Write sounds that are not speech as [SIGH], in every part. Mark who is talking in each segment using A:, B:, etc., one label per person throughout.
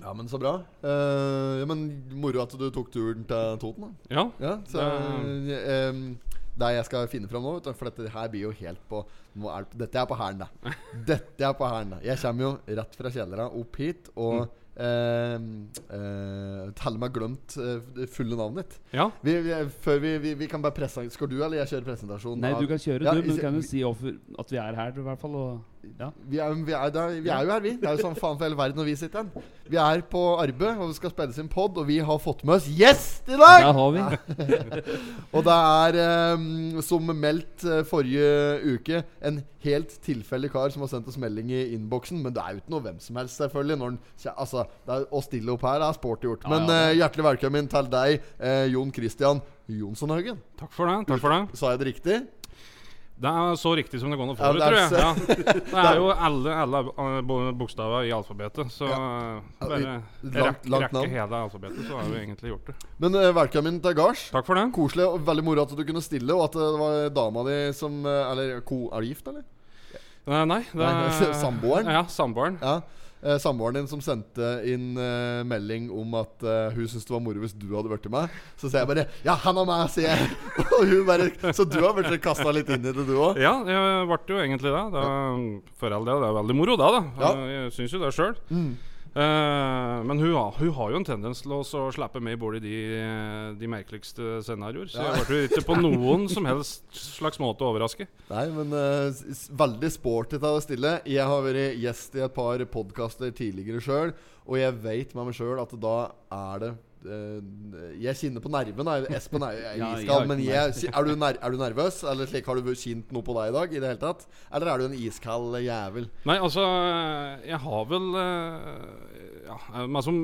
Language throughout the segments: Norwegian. A: Ja, men så bra. Eh, ja, men Moro at du tok turen til Toten. da
B: Ja.
A: Ja, så
B: Det-
A: eh, Det jeg skal finne fram nå, vet du, for dette her blir jo helt på nå er, det- Dette er på hælen,
C: [LAUGHS]
A: da. Dette er på hælen. da. Jeg kommer jo rett fra kjellera opp hit og
C: Mm.
A: eh, eh, teller meg glemt eh, det fulle navnet ditt.
B: ja.
A: Vi, vi, før vi, vi, vi kan bare presse Skal du eller jeg kjøre presentasjon?
C: Nei,
A: av-
C: du kan kjøre,
A: Ja,
C: du, men
A: is-
C: du kan jo si hvorfor- at vi er her, i hvert fall. Og, ja.
A: Vi er, vi, er der, vi er jo her, vi. Det er jo sånn faen for hele verden når vi sitter her. Vi er på arbeid og vi skal spille sin pod, og vi har fått med oss gjest i dag!
C: Der har vi.
A: Og det er, eh, som meldt eh, forrige uke, en helt tilfeldig kar som har sendt oss melding i innboksen. Men det er jo ikke noe hvem som helst, selvfølgelig. Når han, kje- altså, det er, å stille opp her er sporty gjort.
C: Ja,
A: Men
C: ja,
A: eh, hjertelig velkommen til deg, eh, Jon Christian Jonsson Haugen.
B: Takk for det. takk for Det
A: Sa jeg det riktig?
B: Det er så riktig som det går an å
A: Ja,
B: få det,
A: det
B: tror
A: er
B: jeg. Ja.
A: [LAUGHS]
B: Det er jo alle, alle eh, bo- bokstaver i alfabetet, så
A: Ja,
B: bare
A: vi- langt-
B: rekk-
A: langt
B: rekke
A: navn.
B: hele alfabetet, så har vi egentlig gjort det.
A: Men eh, velkommen til gards.
B: Takk for det.
A: Koselig og veldig moro at du kunne stille, og at det var dama di som eh, Eller ko, er du gift, eller?
B: Eh, Nei, det
A: Nei, [LAUGHS] samboeren?
B: Ja, samboeren.
A: Ja. Eh, Samboeren din som sendte inn eh, melding om at eh, hun syntes det var moro hvis du hadde blitt med. Så sier jeg bare 'Ja, han og meg', sier jeg. [LAUGHS] og hun bare Så du har blitt kasta litt inn i det, du òg?
B: Ja, det ble jo egentlig det. det er- for all del, det er veldig moro, da. da.
A: Ja.
B: Jeg syns jo det sjøl.
A: Mm.
B: men hun, har- hun har jo en tendens til å så slippe med i bordet de, de merkeligste scenarioer. Så jeg ble jo ikke på noen som helst slags måte overrasket.
A: Nei, men eh, s- s- veldig sporty til å stille. Jeg har vært gjest i et par podkaster tidligere sjøl, og jeg veit med meg sjøl at da er det eh, jeg kjenner på nerven. da. Espen er jo
C: Ja, jeg
A: iskald,
C: har
A: men
C: ikke
A: jeg, er, du ner, er du nervøs? Eller slik, Har du kjent noe på deg i dag? I det hele tatt? Eller er du en iskald eh, jævel?
B: Nei, altså Jeg har vel eh, ja, meg som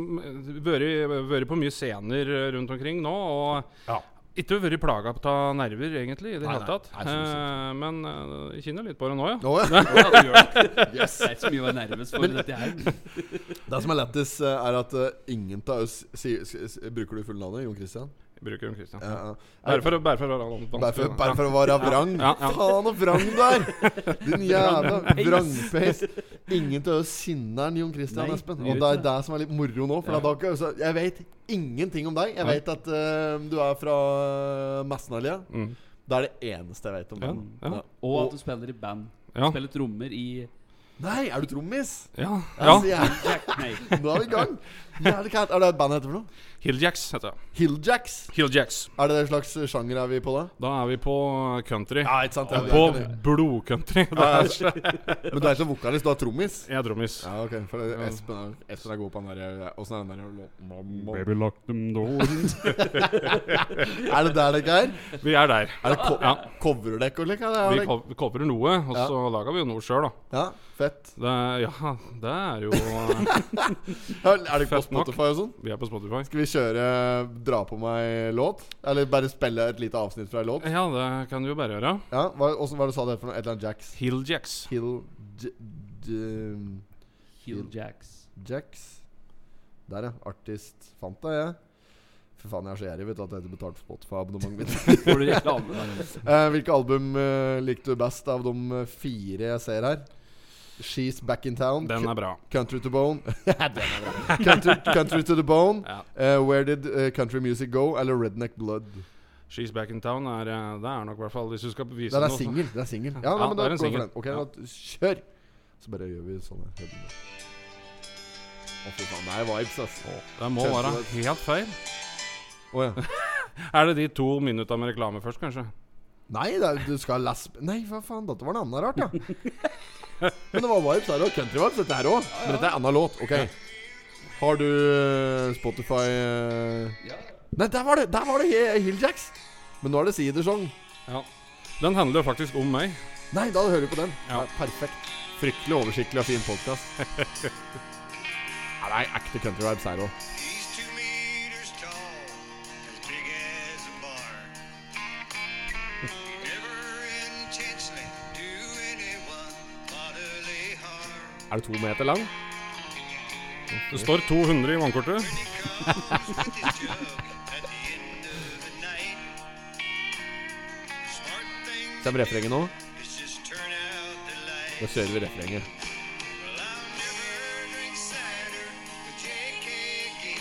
B: vært på mye scener eh, rundt omkring nå. Og
A: Ja.
B: ikke vært plaga av nerver, egentlig, i det
A: Nei,
B: hele
A: nei.
B: tatt.
A: Nei, så
B: Eh, men eh, jeg kjenner litt på det nå, ja.
A: Nå, [LAUGHS] ja.
C: Ja, du gjør det.
A: Yes.
C: Det er ikke så mye å være nervøs for dette her.
A: Det som er lettest, eh, er at eh, ingen av oss sier s- s- Bruker du fulle navnet? Jon Christian?
B: Jeg bruker den, Christian.
A: Ja, ja.
B: Bare for, å- bare for å være vanskelig.
A: Bare for,
B: da.
A: bare for å være vrang.
B: Ja, ja.
A: Faen og vrang du
B: [LAUGHS]
A: er! Din jævla vrangpeis. Ingen til å sinne enn Jon Christian
C: Nei,
A: Espen.
C: det
A: Og
C: gjør
A: det er
C: ikke det.
A: det som er litt moro nå. For
B: Ja.
A: da kan- så jeg vet ingenting om deg. Jeg vet at eh, du er fra Messenallia.
B: Mm.
A: Det er det eneste jeg vet om
B: Ja,
A: deg.
B: ja.
C: sånn- Og at du spiller i band.
B: Ja.
C: Spiller trommer i
A: Nei, er du trommis?
B: Ja. ja.
A: Altså, jeg-
C: Jack, Nei.
A: Nå er vi i gang. Jævlig kært. Er det et band heter for noe?
B: Hilljacks heter det.
A: Hilljacks?
B: Hilljacks.
A: Er det en slags sjanger er vi på da?
B: Da er vi på country.
A: Ja, ikke sant?
B: Og på blodcountry. Det er-
A: Men du er ikke vokalist, du er trommis?
B: Jeg er trommis.
A: Ja, ok. For det- Espen er, Espen er god på den der eh, Åssen er den der låten?
B: Baby lock them doors.
A: Er det der dere er?
B: [LAUGHS] Vi er der.
A: Er det co
B: Ja.
A: Coverer dere eller hva? er
B: Vi
A: det?
B: co- vi coverer noe, og
A: Ja.
B: så lager vi jo noe sjøl, da.
A: Ja, fett.
B: Det, ja, det er jo
A: Ja, Er det på
B: Fett nok.
A: Spotify og sånn?
B: Vi er på Spotify.
A: Skal vi kjøre 'Dra på meg' låt? Eller bare spille et lite avsnitt fra en låt?
B: Ja, det kan du jo bare gjøre.
A: Ja, hva, hvordan, hva du sa du det for noe? Et eller annet Jacks?
B: Hilljacks.
A: Hill J... J
C: Heel Jacks.
A: Jacks. Der, ja. Artist fant deg, jeg. Fy faen, jeg er så gjerrig, vet du, at jeg ikke betalte Spotify-abonnementet mitt.
C: Får du reklame? da?
A: Eh, hvilke album eh, likte du best av de eh, fire jeg ser her? She's Back In Town,
B: Den er bra.
A: Cu- Country To Bone [LAUGHS] country, country To The Bone,
B: Ja.
A: eh, Where Did eh, Country Music Go? eller Redneck Blood.
B: She's Back In Town er eh, Det er nok i hvert fall Hvis du skal bevise
A: Den er
B: noe
A: singel. Den er singel. Ja,
B: Ja,
A: nei, men
B: det
A: da går
B: er en
A: vi for
B: singel.
A: den. Ok,
B: Ja.
A: da, kjør! Så bare gjør vi sånn her. Å, fy faen. Det er vibes, ass. Å
B: Det må
A: Kjente
B: være
A: det.
B: helt feil.
A: ja.
B: Er det de to minutta med reklame først, kanskje?
A: Nei, det er, du skal lesbe... Nei, hva faen, dette var noe annet rart, ja. Men det var vibes her òg. Country vibes, dette her òg. Men dette er annen låt. Ok. Har du eh, Spotify eh?
C: Ja.
A: Nei, der var det Der var det He- Hilljacks! Men nå er det Sidersong.
B: Ja. Den handler jo faktisk om meg.
A: Nei, da hører du på den.
B: Ja.
A: Ja, perfekt. Fryktelig oversiktlig og fin
B: [LAUGHS]
A: podkast. Nei, ekte country vibes her òg.
D: He's two meters tall, as big as a barn. He never intentionally do anyone bodily harm.
A: Er du to meter lang?
B: Det står 200 i vannkortet.
D: When he comes with his jug
A: Kommer
D: at the end of the night. Smart thing
A: refrenget nå?
D: is just turn out the light.
A: Da
B: [LAUGHS]
A: kjører vi refrenget.
D: Well, I'll never drink cider with J.K.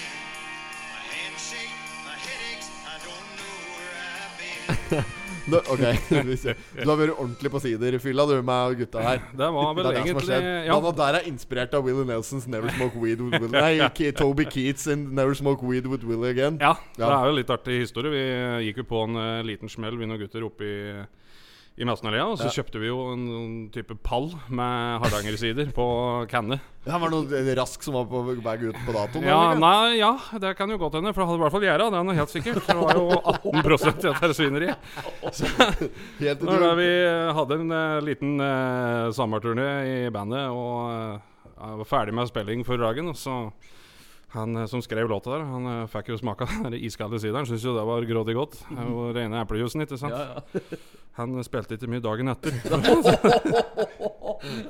A: Nå- ok, [LAUGHS] vi ser. Du har vært ordentlig på siderfylla, du, med gutta her.
B: Det var vel
A: det er det som har
B: egentlig
A: skjedd.
B: ja,
A: Han der er inspirert av Willie Nelsons 'Never Smoke Weed With Willie'. Nei, Ke- Toby Keats in 'Never Smoke Weed With Willie Again'.
B: ja, det
A: Ja.
B: er jo litt artig historie. Vi eh, gikk jo på en eh, liten smell, vi noen gutter oppe i, i Massenallea. Og så kjøpte vi jo en, sånn type pall med Hardangersider på kanne.
A: Det var noe eh, rask som var på vei ut på datoen.
B: Ja,
A: eller?
B: nei, ja, det kan jo godt hende, for det hadde i hvert fall gjerda. Det er noe helt sikkert. Det var jo 18 i dette her
A: [LAUGHS]
B: svineriet.
A: Helt
B: Når da
A: utrolig.
B: vi hadde en eh, liten uh, sommerturné i bandet og eh, jeg var ferdig med spilling for dagen, og så han eh, som skrev låta der, han eh, fikk jo smaka [LAUGHS] den der iskalde sideren. Syns jo det var grådig godt. Det er jo rene eplejuicen, ikke sant?
C: Ja, ja.
B: Han eh, spilte ikke mye dagen
A: [LAUGHS]
B: etter.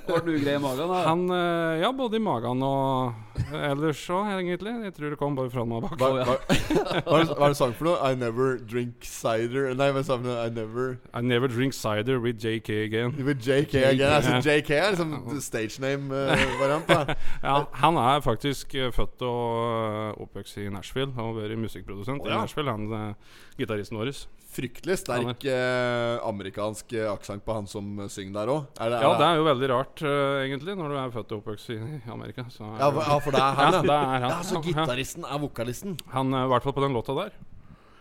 C: Var du grei i magen, da?
B: Han eh, ja, både i magen og ellers òg, egentlig. Jeg tror det kom bare fra meg bak.
A: Hva, [LAUGHS] hva, hva, er det- hva er det sang for noe? I never drink cider Nei, hva sa han? I never
B: I never drink cider with JK again.
A: With JK again. Altså, JK er liksom stage name-variant. da
B: Ja, han er faktisk eh, født og eh, oppvokst i Nashville og vært musikkprodusent
A: Å, ja.
B: i Nashville, han eh, gitaristen vår.
A: Fryktelig sterk eh, amerikansk eh, aksent på han som eh, synger der òg.
B: Ja, det er jo veldig rart, eh, egentlig, når du er født og oppvokst i Amerika. Så er
A: ja,
B: det-
A: for- ja, for det er
B: ja,
A: han,
B: det
A: ja.
B: er han.
A: Ja, så
B: Ja.
A: gitaristen er vokalisten?
B: Han er i hvert fall på den låta der.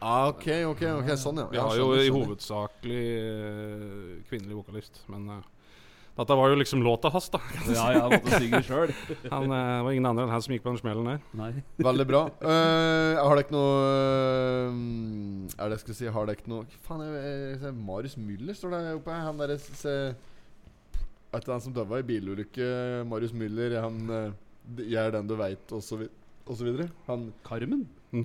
A: Ah, ok, ok, ok, sånn, ja.
B: Vi
A: Ja,
B: har jo
A: skjønner,
B: i
A: skjønner.
B: hovedsakelig eh, kvinnelig vokalist, men eh, dette var jo liksom låta hans, da.
C: Ja, ja, måtte synge sjøl.
B: Han eh, var ingen andre enn han som gikk på den smellen der.
C: Nei.
A: Veldig bra. Eh, har dere ikke noe eh, Er det jeg skulle si Har dere ikke noe Hva Faen, jeg, jeg, ser Marius Müller står der oppe. Han derre se Et eller annet som døde i bilulykke. Marius Müller, han eh, d- Jeg er den du veit, og så, vid og så videre. Han
C: Carmen?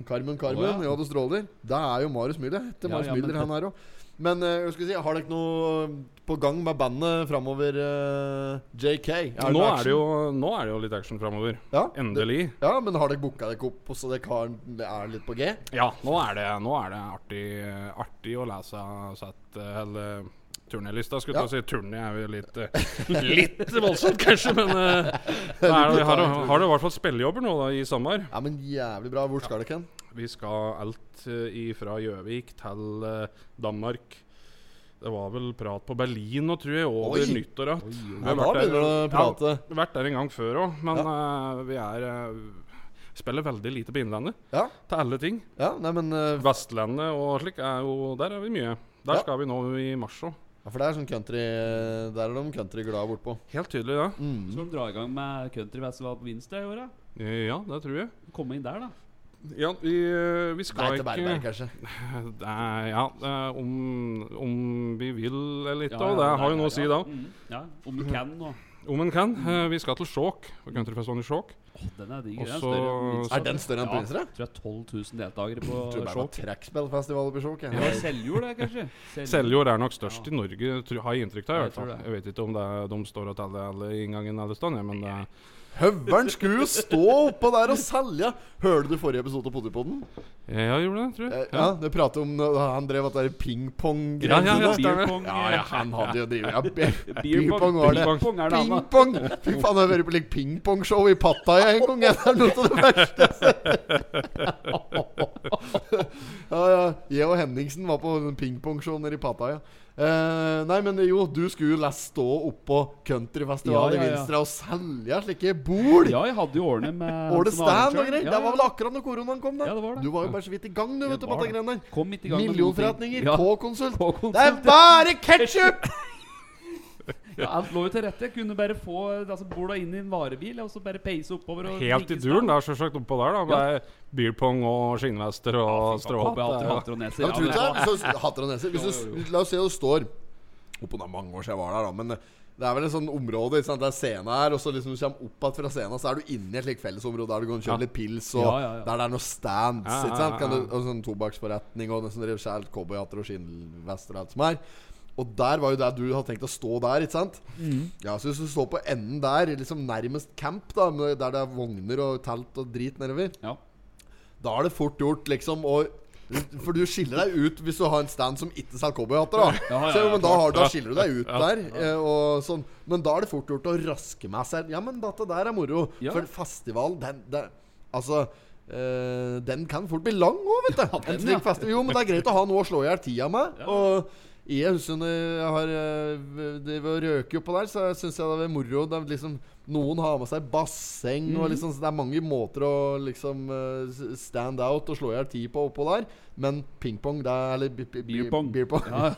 A: Carmen, Carmen,
C: Å, ja.
A: ja. du stråler. Det er jo Marius Müller. Det
C: Ja,
A: Marius
C: ja, men-
A: Müller, han her òg. Men eh, jeg skulle si, har dere noe på gang med bandet framover, eh, JK?
B: Nå
A: noe
B: er det
A: action?
B: jo, nå er det jo litt action framover.
A: ja?
B: Endelig.
A: ja, men har dere booka dere opp så dere har, det er litt på G?
B: Ja, nå er det, nå er det artig, artig å lese sett hele turnélista. Skulle
A: Ja.
B: til å si turné er jo
A: [LAUGHS]
B: litt eh, Litt voldsomt, kanskje, men eh, det er, vi har, har det i hvert fall spillejobber nå da, i sommer.
A: Ja, men jævlig bra. Hvor skal dere hen?
B: Vi skal alt eh, ifra Gjøvik til eh, Danmark. Det var vel prat på Berlin nå, tror jeg, over
A: Oi.
B: nyttår. at- Vi
A: Ja,
B: har
A: da
B: vært der-
A: begynner du å
B: Ja,
A: prate.
B: vi har vært der en gang før òg, men eh, vi er eh, Spiller veldig lite på Innlandet,
A: Ja,
B: til alle ting.
A: ja nei, men eh,
B: Vestlandet og slik er jo Der er vi mye. Der
A: Ja.
B: skal vi nå i mars òg.
A: ja, For det er sånn country Der er de country glad bortpå.
B: Helt tydelig, ja.
A: Mm.
C: Skal de dra i gang med countryfestival på Winster i år, da?
B: Eh, Ja, det tror jeg.
C: Komme inn der, da.
B: Ja, vi, eh,
A: Nei,
B: vi skal
A: til Berberg,
B: ikke
A: kanskje.
B: Nei, Ja, eh, om, om vi vil eller ikke,
C: Ja,
B: og
C: ja,
B: det
C: der,
B: har jo
C: der,
B: noe å si
C: ja.
B: da.
C: Mm, Ja, Om vi kan nå.
B: Om en kan. eh, Vi skal til Skjåk. på Countryfestivalen i Skjåk.
C: Åh, den er diger.
B: Og
C: Den er
B: så-
C: større enn Windsor.
A: Er den større enn
C: Ja,
A: Pinsere?
C: Tror jeg 12 000 deltakere på
A: Tror bare det
C: show.
A: var trekkspillfestival oppi Skjåk.
C: Det var Seljord, det, kanskje?
B: Seljord er nok størst i Norge, tro- har jeg inntrykk av. i
C: Jeg
B: hvert
C: tror
B: fall.
C: det.
B: Jeg vet ikke om det er, de står og teller alle inngangen alle steder, ja, men eh, det er
A: Høveren skulle jo stå oppå der og selge! Hørte du forrige episode av Potipodden?
B: Ja, jeg gjorde det, tror
A: Eh,
B: jeg.
A: ja, du prater om når han drev at det er pingpong-greiene.
B: Ja, ja, ja,
A: sine.
B: stemmer.
C: Beerpong,
A: ja, ja, han hadde jo drevet
B: [LAUGHS]
A: ja, be-
C: Beer
A: Pingpong var det.
B: pong.
C: Pingpong er det annet.
A: Pingpong! Fy faen, jeg har vært på like, pingpongshow i Pattaya en gang. Det er noe av det verste jeg har sett. Ja, ja. Jeg og Henningsen var på en pingpongshow nede i Pattaya. Eh, nei, men jo, du skulle jo la stå oppå countryfestivalen
C: Ja, ja,
A: i
C: ja.
A: Vinstra og selge slike bol!
C: Ja, jeg hadde jo årene
A: [LAUGHS]
C: med
A: Åle
C: som
A: Stand og
C: arrangør.
A: greier.
C: Ja,
A: Det var vel akkurat når koronaen kom, da.
C: Ja, det var det.
A: Du var jo bare så vidt i gang, du,
C: Ja,
A: vet du,
C: det
A: på
C: var
A: det greiene der.
C: Kom midt i gang med noen ting.
A: Millionforretninger
C: Ja,
A: på konsult.
C: på
A: Det er
C: konsert.
A: bare ketsjup!
C: Ja, alt lå jo til rette. Jeg kunne bare få altså, borda inn i en varebil og så bare peise oppover. Og
B: Helt i duren, det er selvsagt oppå der, da. Med beer pong og skinnvester og stråhatt.
C: Håper jeg hater
B: det er-
C: hatter og neser.
A: Ja,
C: Ja,
A: men tror
C: men
A: du
C: det
A: ikke det? Så hatter og neser. Hvis du,
C: Jo,
A: s- la oss si du står Oppå det er mange år siden jeg var der, da, men eh, det er vel et sånt område. Ikke sant? Det er scene her, og så liksom du kommer opp igjen fra scenen, så er du inne i et slikt fellesområde der du kan kjøre litt pils, og
C: Ja, ja, ja.
A: der det er noen stands.
B: Ja,
A: Ikke sant?
B: ja,
A: Kan du,
B: ja.
A: og sånn tobakksforretning og nesten skjært cowboyhatter og skinnvester og alt som er. Og der var jo der du hadde tenkt å stå der, ikke sant?
C: Mm.
A: Ja, så hvis du står på enden der, liksom nærmest camp, da, med- der det er vogner og telt og drit nedover,
C: ja.
A: da er det fort gjort liksom å For du skiller deg ut hvis du har en stand som ikke selger cowboyhatter. Da.
C: Ja, ja, ja,
A: Så, men da,
C: klart.
A: har, da skiller du deg ut der. eh, Og sånn. Men da er det fort gjort å raske med seg. Ja, men dette der er moro.
C: Ja.
A: For festival, den, den Altså eh, Den kan fort bli lang òg, vet du. En
C: den,
A: slik
C: ja.
A: festival. Jo, men det er greit å ha noe å slå i hjel tida med.
C: Ja.
A: Og jeg husker når jeg har eh, Det var røke oppå der, så syns jeg det var moro. Det er liksom, noen har med seg basseng, og liksom, så det er mange måter å liksom eh, s- stand out og slå i hjel tid på oppå der. Men pingpong, det er Eller bi- bi- bi-
C: Beer pong.
A: beer pong.
C: Ja.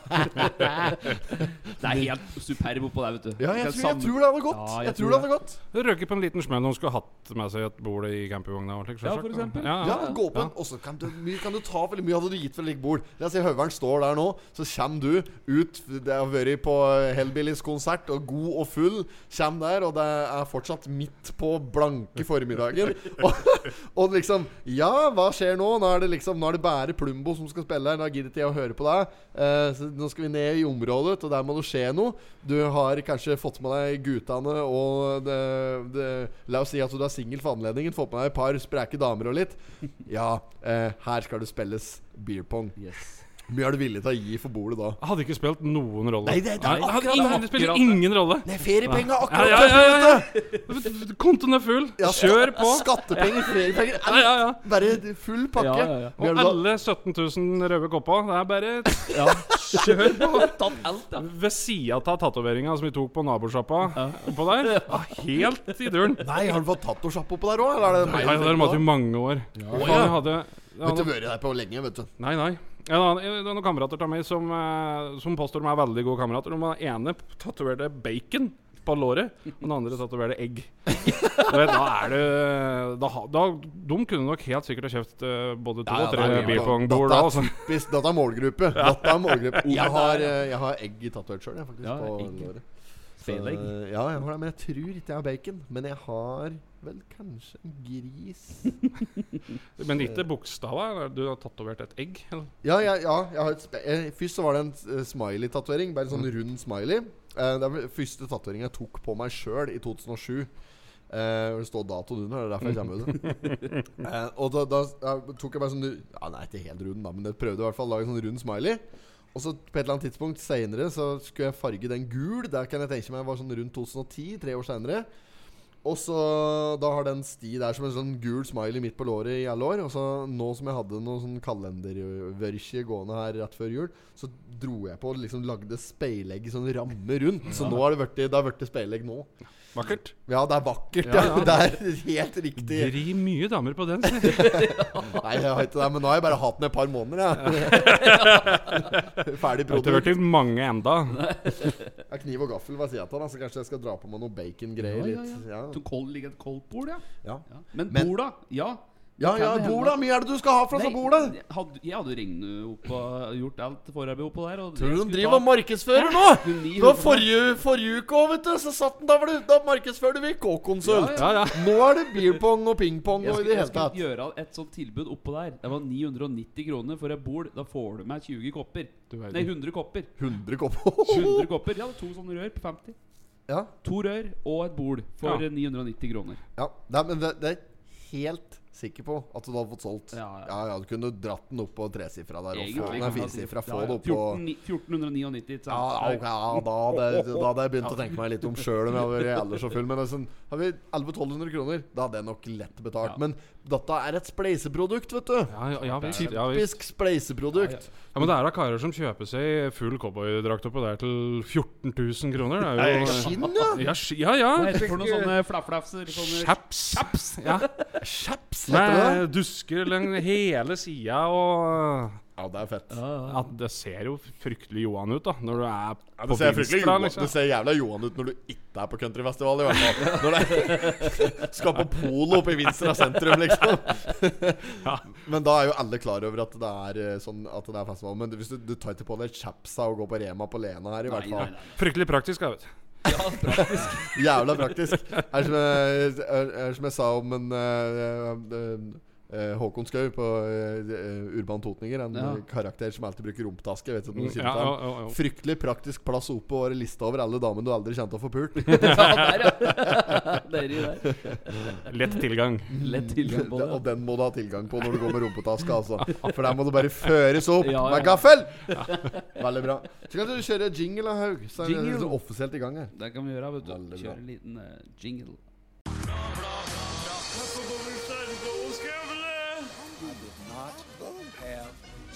C: [LAUGHS] det er helt superb oppå der, vet du.
A: Ja,
C: Du
A: jeg
C: kan
A: tror, jeg
C: samle-
A: tror det hadde gått.
C: Ja,
A: jeg, tror det hadde gått.
B: Røke på en liten smell hun skulle hatt med seg et bord i campingvogna. og slik,
C: Ja,
B: selvsagt.
C: for eksempel.
B: Ja,
A: Ja,
B: ja.
A: gå på en Og så kan du, mye kan du ta for mye hadde du gitt for et likt bord. La oss si Høveren står der nå, så kommer du ut Det har vært på Hellbillies konsert, og god og full. Kjem der, og det er fortsatt midt på blanke formiddagen.
B: [LAUGHS]
A: Og, og liksom Ja, hva skjer nå? Nå er det liksom Nå er det bare Plumbo som skal spille her. Da gidder ikke jeg å høre på deg. Eh, så nå skal vi ned i området, og der må det skje noe. Du har kanskje fått med deg guttene og det, det, La oss si at du er singel for anledningen. Fått med deg et par spreke damer og litt. Ja, eh, her skal det spilles beer pong.
C: Yes.
A: Hvor mye er du villig til å gi for bordet da?
B: Hadde ikke spilt noen rolle.
A: Nei, det- det er
B: Nei,
A: akkurat
B: ingen-
C: det.
B: det spiller
C: Akkurat det.
B: ingen rolle.
A: Det er feriepenger
B: Ja,
A: akkurat!
B: ja, ja, ja, ja. Kontoen er full.
A: Ja,
B: Kjør på.
A: Skattepenger, feriepenger.
B: Ja, ja, ja.
A: Bare full pakke.
C: Ja, ja, ja.
A: Hvor mye er
B: Og
A: det da-
B: alle 17 000 røde kopper. Det er bare
C: Ja. [LAUGHS]
B: kjør på.
C: Tatt alt, da.
B: Ved sida av tatoveringa som vi tok på nabosjappa på der. Ja, helt i duren.
A: Nei, har du fått tattosjappe oppå der òg? Eller er det
B: Nei, det har vært i mange år. Faen, jeg hadde, jeg
A: Vet du,
B: hadde
A: vært der på lenge, vet du.
B: Nei, nei. En annen, det er noen kamerater av meg som, eh, som påstår de er veldig gode kamerater. De var ene tatoverte bacon på låret, og den andre tatoverte egg. Og da er det da, ha- da, De kunne nok helt sikkert ha kjøpt eh, både to
A: Ja, ja,
B: og
A: det
B: tre
A: er mye.
B: beer pong-bord da. Altså.
A: Hvis dette er målgruppe. Dette er målgruppe. Jeg
C: Ja, det er-
A: har, eh, jeg har egg tatovert sjøl, jeg, faktisk.
C: Ja,
A: på
C: egg.
A: låret. Så,
C: Spedegg.
A: Ja, jeg har det, men jeg tror ikke jeg har bacon. Men jeg har vel kanskje en gris
B: Men ikke bokstava. Du har tatovert et egg. eller?
A: Ja, ja, ja jeg har et spe eh, Først så var det en eh, smiley-tatovering. Bare en sånn rund smiley. Eh, det var den første tatoveringa jeg tok på meg sjøl i 2007. Eh, hvor det står datoen under. Det er derfor jeg kommer med det. Eh, og da, da eh, tok jeg bare sånn ja, Nei, ikke helt rund, da, men jeg prøvde i hvert fall å lage en sånn rund smiley. Og så på et eller annet tidspunkt seinere så skulle jeg farge den gul. Der kan jeg tenke meg var sånn rundt 2010, tre år seinere. Og så Da har den sti der som en sånn gul smiley midt på låret i alle år. Og så nå som jeg hadde noe sånn kalendervørkje gående her rett før jul, så dro jeg på og liksom lagde speilegg i sånn ramme rundt. Så nå har det vært, det har vært speilegg nå.
B: Vakkert.
A: Ja, det er vakkert. Ja,
B: Ja, ja.
A: [LAUGHS] Det er helt riktig.
B: Dri mye damer på den. sier jeg.
A: [LAUGHS] Nei, jeg har ikke det, men nå har jeg bare hatt den et par måneder, jeg. [LAUGHS] Ferdig
B: Det har
A: produkt.
B: vært i mange enda.
A: Ja, kniv og gaffel, hva sier jeg til han? Så kanskje jeg skal dra på meg noe bacongreier
C: Ja, ja,
A: litt. Ja,
C: Så sånn kold ligger et koldt bord, ja.
A: ja.
C: ja. Men,
A: Men-
C: bord, da? Ja.
A: ja, ja
C: Kan det hende?
A: bordet! Mye er det du skal ha fra
C: Nei,
A: så bordet?
C: Jeg hadde, jeg hadde ringt opp og gjort alt forarbeid oppå der. Og
A: Tror du
C: jeg
A: de
C: skulle
A: driver og
C: ta
A: markedsfører nå?
C: 900
A: Nå forrige, forrige uke òg, vet du, så satt den da var det Da markedsførte vi K-konsult.
B: Ja, ja.
A: Nå er det beer pong og ping pong
C: Jeg
A: og i
C: skulle,
A: det
C: jeg
A: hele tatt.
C: skulle gjøre et sånt tilbud oppå der. Det var 990 kroner for et bord. Da får du meg 20 kopper.
B: Du verden.
C: Nei, 100 kopper.
A: 100 kopper.
C: 100 kopper. Ja, to sånne rør på 50.
A: [LAUGHS] Ja,
C: To rør og et bord for
B: Ja.
C: 990 kroner.
A: ja. Nei, men det, det er jeg helt sikker på at du hadde fått solgt. Ja,
C: Ja, ja.
A: ja, du kunne dratt den opp på tresifra der og få
C: Egentlig
A: den
C: kan man si-
A: firesifra.
C: Ja,
A: Få
C: ja.
A: det opp på
C: 14 1499, ikke
A: ja,
C: sant?
A: ok, ja, da hadde jeg- da hadde jeg begynt å tenke meg litt om sjøl om jeg hadde vært ellers så full. Men liksom, har vi 1100-1200 kroner, da hadde jeg nok lett betalt.
C: Ja.
A: Men dette er et spleiseprodukt, vet du.
B: Ja, ja, ja, visst, ja, visst.
A: Typisk spleiseprodukt.
B: Ja, men det er da karer som kjøper seg full cowboydrakt oppå der til 14 000 kroner. Det er jo
A: Skinn, ja!
B: Ja, sk- ja. ja.
C: Hva heter det for noen sånne flafflafser? Sånne
B: Chaps. Ja.
A: Chaps, heter det.
B: Med dusker langs hele sida og
A: Ja, det er fett.
B: ja, Det ser jo fryktelig Johan ut, da, når du er på
A: det, ser fryktelig
B: Vinstra,
A: Johan-
B: liksom.
A: det ser jævla Johan ut når du ikke er på countryfestival, i hvert fall. Når du er- skal på polo oppe i Vinstra sentrum, liksom. Men da er jo alle klar over at det er eh, sånn At det er festival. Men hvis du, du tar ikke på deg chapsa og går på Rema på Lena her, i hvert
C: Nei, nei,
A: fall.
C: nei.
B: Fryktelig praktisk, da, vet du.
A: Jævla praktisk. Er som jeg, er, er som jeg sa om en eh, eh, eh, Håkon Skau på eh, eh, Urban Totninger, en
C: Ja.
A: eh, karakter som alltid bruker rumpetaske. Vet du om du kjenner
B: Mm, Ja,
A: til han?
B: ja, ja, ja.
A: Fryktelig praktisk plass oppe og liste over alle damene du aldri kjente til å få pult.
C: [LAUGHS] Ja, der, ja. [LAUGHS] Dere der.
B: Lett tilgang.
C: Lett
A: [LAUGHS]
C: tilgang på
A: og
C: det.
A: den må du ha tilgang på når du går med rumpetaske, altså. For der må du bare føres opp
C: Ja, ja.
A: med gaffel! Veldig bra. Så kan du kjøre jingle, da, Haug. Så er det
C: Jingle.
A: liksom offisielt i gang her.
C: Det kan vi gjøre, vet
A: Veldig
C: du.
A: bra.
C: Kjøre en liten eh, jingle.
D: Skål, skål, skål.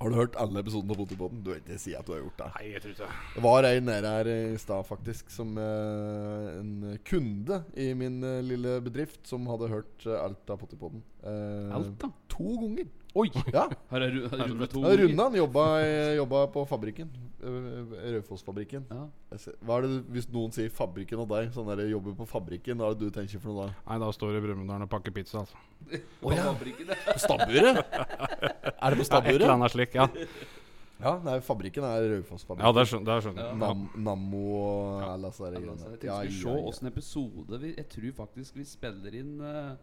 A: Har du hørt alle episodene på Potipodden? Du vil ikke si at du har gjort det.
B: Nei, jeg tror ikke det.
A: Det var en nede her i stad faktisk som eh, en kunde i min eh, lille bedrift som hadde hørt eh, alt av Potipodden. Eh,
C: Alta?
A: To ganger.
C: Oi!
A: Ja.
C: Har jeg ru- har jeg rundet to
A: Ja, Runda han jobba, i- jobba på fabrikken. eh, Raufoss-fabrikken.
C: Ja.
A: Jeg ser- Hva er det du- Hvis noen sier 'fabrikken' og deg, sånn der, jobber på fabrikken, hva er det du tenker for noe da?
B: Nei, da står det i Brumunddal og pakker pizza, altså.
A: Å ja,
C: Fabrikken, ja.
A: på stabburet? er det på
B: Ja, et eller
A: stabburet?
B: annet slik, ja.
A: Ja, nei, fabrikken er Raufoss-fabrikken.
B: Ja, det skjønner, det skjønner jeg. Ja.
A: Nam Nammo og alle disse der
C: Altså, Jeg
A: greiene.
C: tenkte vi skulle se åssen episode vi Jeg tror faktisk vi spiller inn eh,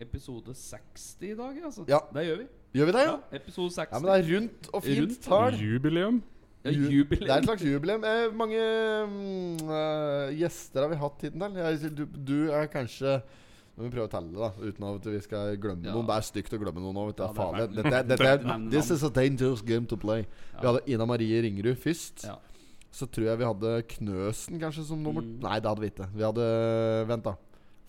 C: episode 60 i dag. Altså.
A: Ja.
C: Det gjør vi.
A: Gjør vi det, ja?
C: Ja, episode 60.
A: Ja, men det er rundt og fint
C: Rundt.
A: tall.
B: Jubileum.
C: Ja,
A: Ju-
C: jubileum.
A: Det er et slags jubileum. Eh, mange mm, eh, gjester har vi hatt hittil. Jeg- Du, du er kanskje Nå må vi prøve å telle, da uten at vi skal glemme
C: Ja.
A: noen. Det er stygt å glemme noen nå. Vet du.
C: Ja, det er
A: Faen,
C: feil.
A: dette, dette, dette,
C: Nevn
A: this
C: navn.
A: is a dangerous game to play. Vi
C: Ja.
A: hadde Ina Marie Ringerud først.
C: Ja.
A: Så tror jeg vi hadde Knøsen kanskje som nummer
C: Mm.
A: Nei, det hadde vi ikke. Vi hadde Vent, da.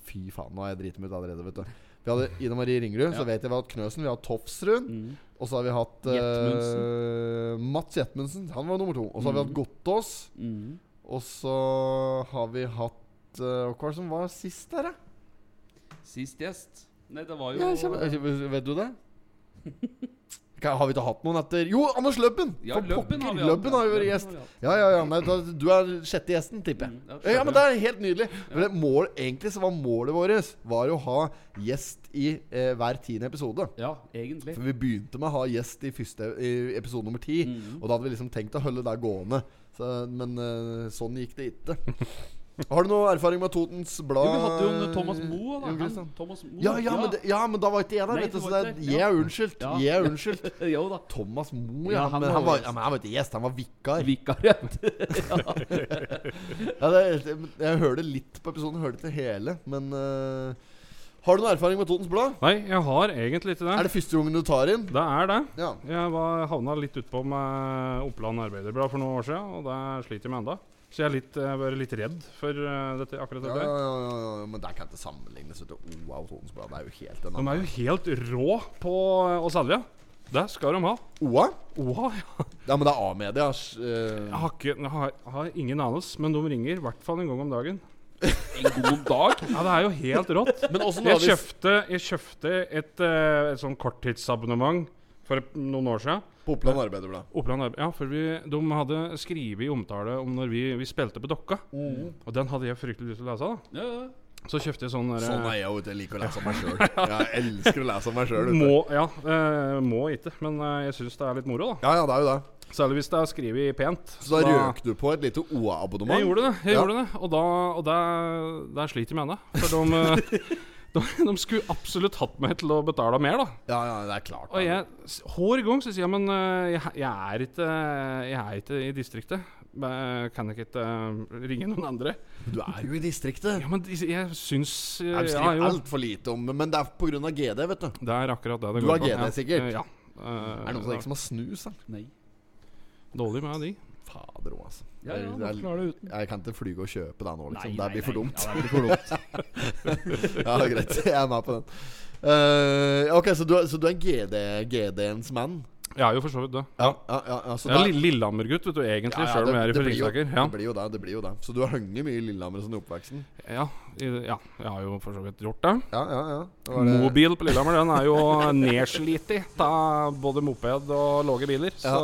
A: Fy faen, nå har jeg driti meg ut allerede, vet du. Vi hadde Ina Marie Ringerud,
C: Ja.
A: så vet jeg vi har hatt Knøsen. Vi har hatt Tofsrud.
C: Mm.
A: Og så har vi hatt eh, Mats Jetmundsen. Han var nummer to. Og så har vi
C: Mhm.
A: hatt Gottaas.
C: Mm.
A: Og så har vi hatt eh, Hva var det som var sist der, da?
C: Sist gjest. Nei, det var jo
A: Ja, kjem- kjem- vet du det? [LAUGHS] Ka- Har vi ikke hatt noen etter Jo, Anders Løbben!
C: Ja,
A: For
C: Løbben
A: pokker,
C: har vi hatt.
A: Løbben har jo vært
C: Løbben
A: gjest.
C: har vi hatt.
A: Ja, ja, ja. Nei, da, du er sjette gjesten, tipper jeg.
C: Mm, ja,
A: Ja, men det
C: sjette.
A: er helt nydelig. For det mål, egentlig så var målet vårt Var å ha gjest i eh, hver tiende episode.
C: Ja, egentlig.
A: For vi begynte med å ha gjest i, første, i episode nummer ti.
C: Mm.
A: Og da hadde vi liksom tenkt å holde det gående. Så, men eh, sånn gikk det
C: [LAUGHS]
A: ikke. Har du noe erfaring med Totens Blad?
C: Jo, vi hadde jo en eh, Thomas Moe, da.
A: Jon
C: Han,
A: Christian?
C: Thomas Moe.
A: Ja, ja, men det, ja, men da var ikke jeg der,
C: Nei,
A: vet du.
C: du
A: Så
C: var
A: det,
C: ikke der,
A: jeg
C: ja.
A: er unnskyldt.
C: Ja.
A: Jeg er unnskyldt.
C: [LAUGHS] Jo da.
A: Thomas Moe, ja.
C: Ja, han
A: men,
C: var
A: han var,
C: gjest.
A: ja, men han var ikke gjest, han var vikar.
C: Vikar, ja.
A: Ja, det, jeg, jeg hørte litt på episoden, hørte ikke hele, men eh, Har du noe erfaring med Totens Blad?
B: Nei, jeg har egentlig ikke
A: Er
B: det.
A: det første gangen du tar inn?
B: Det er det.
A: Ja.
B: Jeg var, havna litt utpå med Oppland Arbeiderblad for noen år siden, og det sliter jeg med enda. Så jeg er litt, jeg har vært litt redd for eh, dette, akkurat
A: Ja,
B: dette.
A: ja,
B: her.
A: ja, ja, ja, men det kan ikke sammenlignes. vet du. Wow, Totens Blad det er jo helt en
B: De
A: annen.
B: er jo helt rå på eh, å selge. Det skal de ha.
A: OA?
B: Oha, ja.
A: Ja, men det er A-media. eh,
B: Jeg har, ikke, jeg har, jeg har ingen anelse, men de ringer i hvert fall en gang om dagen.
C: En god dag.
B: Ja, det er jo helt
A: [LAUGHS]
B: rått.
A: Men åssen
B: Jeg kjøpte, jeg kjøpte et, eh, et sånn korttidsabonnement for noen år siden.
A: På Oppland Arbeiderblad.
B: Oppland Arbe- Ja, for vi, de hadde skrevet i omtale om når vi, vi spilte på Dokka.
A: Mm.
B: Og den hadde jeg fryktelig lyst til å lese. da
C: Ja, ja.
B: Så kjøpte jeg sånn der,
A: Sånn er jeg jo ute. Jeg liker å lese om meg
B: [LAUGHS]
A: sjøl. Jeg elsker å lese om meg sjøl.
B: Må, ja, eh, må ikke, men eh, jeg syns det er litt moro, da.
A: Ja, ja, det er jo det.
B: Særlig hvis det er skrevet pent.
A: Så da røk du på et lite OA-abonnement?
B: Jeg gjorde det, jeg
A: Ja.
B: gjorde det. og, da, og der, der sliter jeg med det. For de, eh, [LAUGHS] de, de skulle absolutt hatt meg til å betale mer, da.
A: Ja, ja, det er klart.
B: Og jeg, s- hver gang så sier jeg Men eh, jeg, jeg, er ikke, eh, jeg er ikke i distriktet. Men Kan jeg ikke eh, ringe noen andre?
A: Du er jo i distriktet.
B: Ja, men de- jeg syns eh,
A: Jeg
B: ja,
A: skriver
B: jo.
A: altfor lite om men det er pga. GD, vet du.
B: Det er akkurat det det
A: Du
B: går
A: har
B: på.
A: GD
B: Ja,
A: sikkert?
B: eh, Ja.
A: Er det noen som ikke som har snus? da?
C: Nei.
B: Eh, Dårlig med de.
A: Fader òg, altså.
C: Ja, ja,
A: Det
C: man
A: er-
C: klarer det uten.
A: Jeg kan ikke flyge og kjøpe det nå, liksom.
C: Nei,
A: det blir
C: nei,
A: for
C: nei.
A: dumt.
C: Ja, det blir for
A: [LAUGHS]
C: dumt.
A: Ja, greit. Jeg er med på den. Eh, ok, så du, er- så du er GD, GD-ens mann?
B: Jeg er jo for så vidt det.
A: Ja, ja, ja, ja, så
B: Jeg er
A: der-
B: li- Lillehammer-gutt, vet du, egentlig,
A: Ja, ja,
B: selv om
A: det-
B: jeg er
A: det
B: fra
A: blir jo-
B: Ringsaker. Ja.
A: Det blir jo det. det blir jo det Så du har hengt mye i Lillehammer og sånn i oppveksten?
B: Ja, i- ja, jeg har jo for så vidt gjort det.
A: Ja, ja, ja. Det var det-
B: Mobil på Lillehammer, den er jo nedslitt i av både moped og lave biler. Så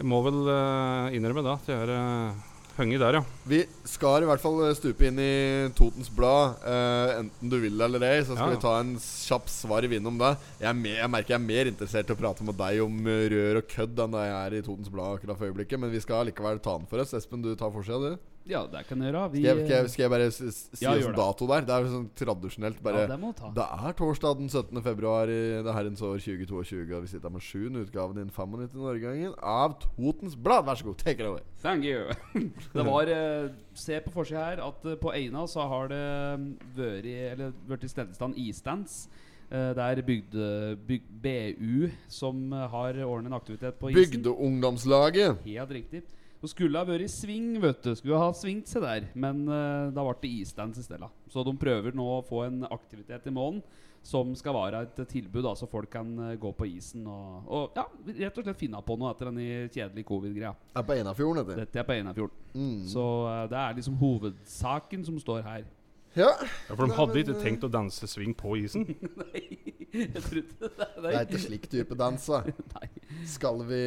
B: jeg må vel eh, innrømme det, at jeg er uh, hengt der, ja.
A: Vi skal i hvert fall eh, stupe inn i Totens Blad, eh, enten du vil eller ei. Så skal
B: Ja.
A: vi ta en kjapp svarv innom det. Jeg, er mer, jeg merker jeg er mer interessert i å prate med deg om eh, rør og kødd enn det jeg er i Totens Blad akkurat for øyeblikket, men vi skal likevel ta den for oss. Espen, du tar forsida, du.
C: Ja, det kan jeg gjøre. Vi, eh,
A: Skal jeg, skal jeg, skal jeg bare s- s- si
C: Ja,
A: oss
C: gjør det.
A: dato der? Det er jo sånn tradisjonelt bare
C: ja, det må du ta.
A: Det er torsdag den 17. februar i det herrens år 2022, og vi sitter her med sjuende utgaven i den 95. årgangen av Totens Blad. Vær så god, take it away.
C: Thank you. [LAUGHS] det var eh, Se på forsida her at eh, på Eina så har det mm, vært Eller vært i stedestand isdans. Eh, Det er bygde, byg, BU som eh, har ordnet en aktivitet på isen.
A: Bygdeungdomslaget.
C: Helt riktig. Så skulle det ha vært i sving, vet du. Skulle ha svingt seg der. Men eh, da ble det isdans i stedet. Så de prøver nå å få en aktivitet i måneden som skal være et tilbud, da, så folk kan eh, gå på isen og, og ja, rett og slett finne på noe etter denne kjedelige covid-greia.
A: Er på Einafjorden, heter det.
C: Dette er på Einafjorden.
A: Mm.
C: Så eh, det er liksom hovedsaken som står her. [LAUGHS]
A: Ja.
B: Ja, for de
A: Nei,
B: hadde
A: men,
B: ikke
A: eh,
B: tenkt å danse swing på isen.
C: Jeg trodde det.
A: Det er ikke slik type dans, da.
C: [LAUGHS] Nei.
A: Skal vi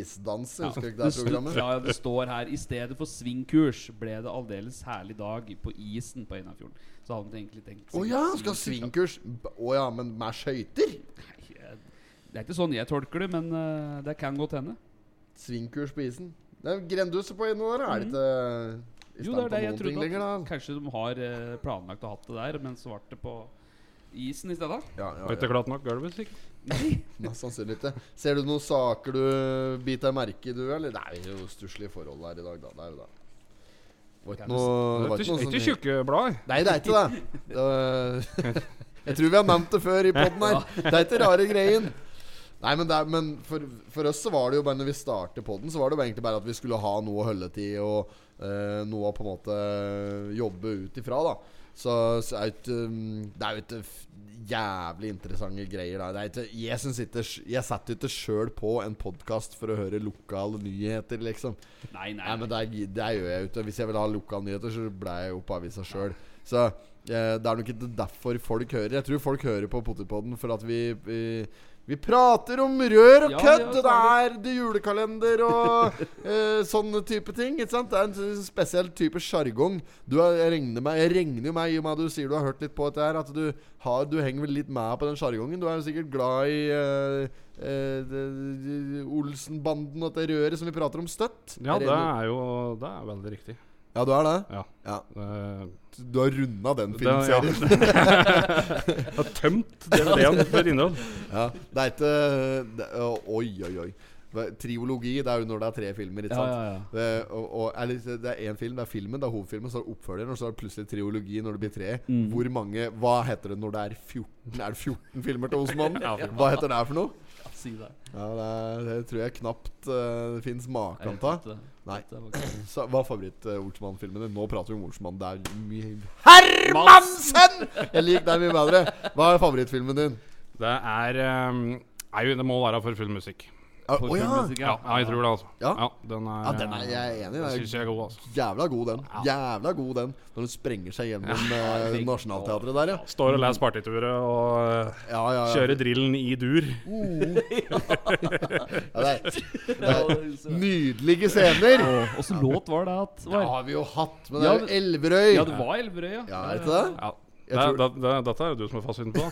A: isdanse? Husker du ikke det
C: [LAUGHS] Det
A: her
C: sto-
A: programmet?
C: Ja, ja, det står her I stedet for svingkurs ble det aldeles herlig dag på isen på Einafjorden. Så hadde han egentlig tenkt
A: Å ja, skal ha svingkurs. B- Å ja, men med skøyter?
C: Nei, jeg- Det er ikke sånn jeg tolker det, men eh, det kan godt hende.
A: Svingkurs på isen. Det er grendusse på inn der, er det ikke i
C: Mhm. Jo, det er
A: stand på
C: det jeg
A: noen ting
C: trodde.
A: lenger,
C: At,
A: da?
C: kanskje de har eh, planlagt å hatt det der, men så ble det på isen
A: [LAUGHS]
C: i stedet?
A: Ja,
B: Var
A: ja,
B: ikke
A: ja.
B: glatt nok gulvet, sikkert.
C: Nei.
A: [LAUGHS] Mest sannsynlig ikke. Ser du noen saker du biter merke i, du, eller? Det er jo stusslige forhold her i dag, da. Det er jo det. Det var ikke noe, det
B: Det er
A: var
B: ikke
A: ikke noe
B: ikke
A: sånn
B: tjukke blader.
A: Nei, det er ikke det. det var- [LAUGHS] jeg tror vi har nevnt det før i poden her. Det er ikke rare greien. Nei, men, det er, men for, for oss så var det jo bare når vi startet poden, så var det jo egentlig bare at vi skulle ha noe å holde til og eh, noe å på en måte jobbe ut ifra, da. Så, så er det, ikke, um, det er jo ikke f- jævlig interessante greier, da. Det er ikke, jeg synes ikke sj- Jeg setter ikke sjøl på en podkast for å høre lokale nyheter, liksom.
C: Nei,
A: Nei, men det, er, det gjør jeg jo ikke. Hvis jeg vil ha lokale nyheter, så ble jeg jo på avisa sjøl. Så eh, det er nok ikke derfor folk hører. Jeg tror folk hører på Potipodden for at vi, vi vi prater om rør og
C: Ja,
A: kødd!
C: ja,
A: og det er
C: særlig.
A: det julekalender og eh, sånne type ting. Ikke sant? Det er en s- spesiell type sjargong. Du har- Jeg regner med- jeg regner jo med, i og med at du sier du har hørt litt på dette her, at du, har, du henger vel litt med på den sjargongen. Du er jo sikkert glad i eh, eh, det- Olsenbanden og det røret som vi prater om støtt.
B: Ja,
A: Jeg
B: det
A: regner-
B: er jo Det er veldig riktig.
A: ja, du er det?
B: Ja.
A: Ja.
B: Eh,
A: Du har runda den
B: det, ja.
A: filmserien. Det,
B: [LAUGHS] Jeg har tømt DVD-en for innhold.
A: ja. det er ikke det, å, Oi, oi, oi. Hva- Triologi det er jo når det er tre filmer. Ikke
C: Ja,
A: sant?
C: ja, ja.
A: Det, og, og, eller, det er én film, det er filmen, det er hovedfilmen, så er det oppfølgeren, og så er det plutselig triologi når det blir tre. Hvor mange Hva heter det når det er 14 Er det 14 filmer til Osmanen? Hva heter det her for noe?
C: Ja, Si det.
A: Ja, det, er, det tror jeg knapt eh, det fins maken av.
C: Dette-
A: Nei.
C: dette var ikke-
A: Så Hva er favoritt-Olsmann-filmen din? Nå prater vi om Olsmann. Det er mye Hermansen! Jeg liker deg mye bedre. Hva er favorittfilmen din?
B: Det er eh, Nei, det må være for full musikk.
A: Å
C: For
A: ja!
C: filmmusikk,
B: Ja, ja, jeg tror det, altså.
A: Ja.
B: den er,
A: Ja, den er jeg enig i.
B: den
A: Det er-
B: synes jeg er god, altså.
A: Jævla god, den. Jævla god den Når hun sprenger seg gjennom eh,
C: fy-
A: Nationaltheatret der, ja.
B: Står og leser partituret og eh,
A: Ja, ja, Uh. ja.
B: kjører drillen i dur.
A: ja det er
C: Ja,
A: nydelige scener!
C: Åssen låt var det at
A: Det
C: var?
A: har vi jo hatt, men det
C: Ja,
A: er jo Elverøy.
C: Ja, det var Elverøy, ja.
A: Ja, er det ikke det?
B: Ja.
A: Jeg
B: Det,
A: tror- [LAUGHS]
B: det, det, dette er jo du som har fasiten på.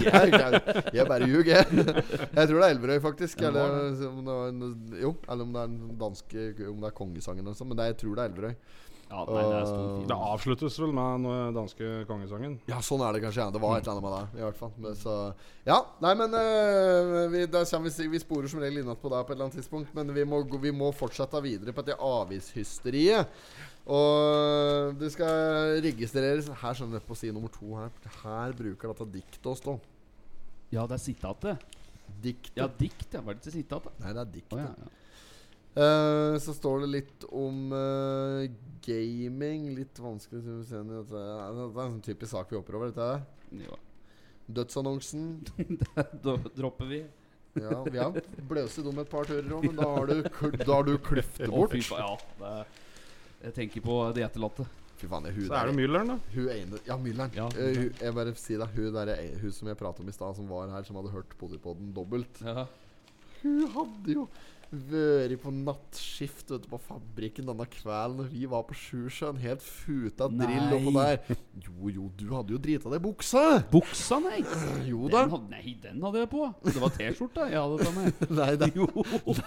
A: Jeg, jeg, jeg bare ljuger, jeg. Jeg tror det er Elverøy, faktisk. Eller om det, var en, jo, eller om det er en danske Om det er kongesangen eller noe sånt, men det, jeg tror det er Elverøy.
C: Ja, nei, det er stor film.
B: Det avsluttes vel med den danske kongesangen.
A: Ja, sånn er det kanskje. Ja. Det var et eller annet med det. I hvert fall men, så, Ja, nei, men øh, vi, da kommer vi, si- vi sporer som regel innatt på deg på et eller annet tidspunkt. Men vi må, gå- vi må fortsette videre på dette avishysteriet. Og det skal registreres Her skjønner jeg på side nummer to her Her bruker dette diktet å stå.
C: Ja, det er sitatet.
A: Dikt.
C: Ja, dikt. Ja. Var det ikke sitatet?
A: Nei, det er dikt.
C: Å, ja,
A: ja.
C: ja.
A: Eh, så står det litt om eh, gaming. Litt vanskelig å se inn i dette. Ja, Det er en sånn typisk sak vi hopper over. Dette her.
C: Jo.
A: Dødsannonsen.
C: [LAUGHS] Da dropper vi.
A: Ja, vi har bløset om et par turer òg, men da har
C: [LAUGHS]
A: du, kl- da har du kløft det
C: Å,
A: bort.
C: fy faen. Ja, det er, jeg tenker på de etterlatte.
A: Fy faen, det er hun
B: Så er det
A: der.
B: Mülleren, da.
A: Hun ene Ja, Mylleren.
C: Ja,
A: Eh, hun- jeg bare si deg, hun der er- hun som jeg pratet om i stad, som var her, som hadde hørt Podipodden dobbelt.
C: Ja.
A: Hun hadde jo vært på nattskift vet du, på fabrikken denne kvelden når vi var på Sjusjøen. Helt futa drill
C: Nei.
A: oppå der. Jo, jo, du hadde jo drita deg i buksa!
C: [LAUGHS] Buksa, nei!
A: Jo da.
C: Den hadde, nei, den hadde jeg på. Det var T-skjorta jeg hadde på meg.
A: [LAUGHS] Nei da.
C: Jo.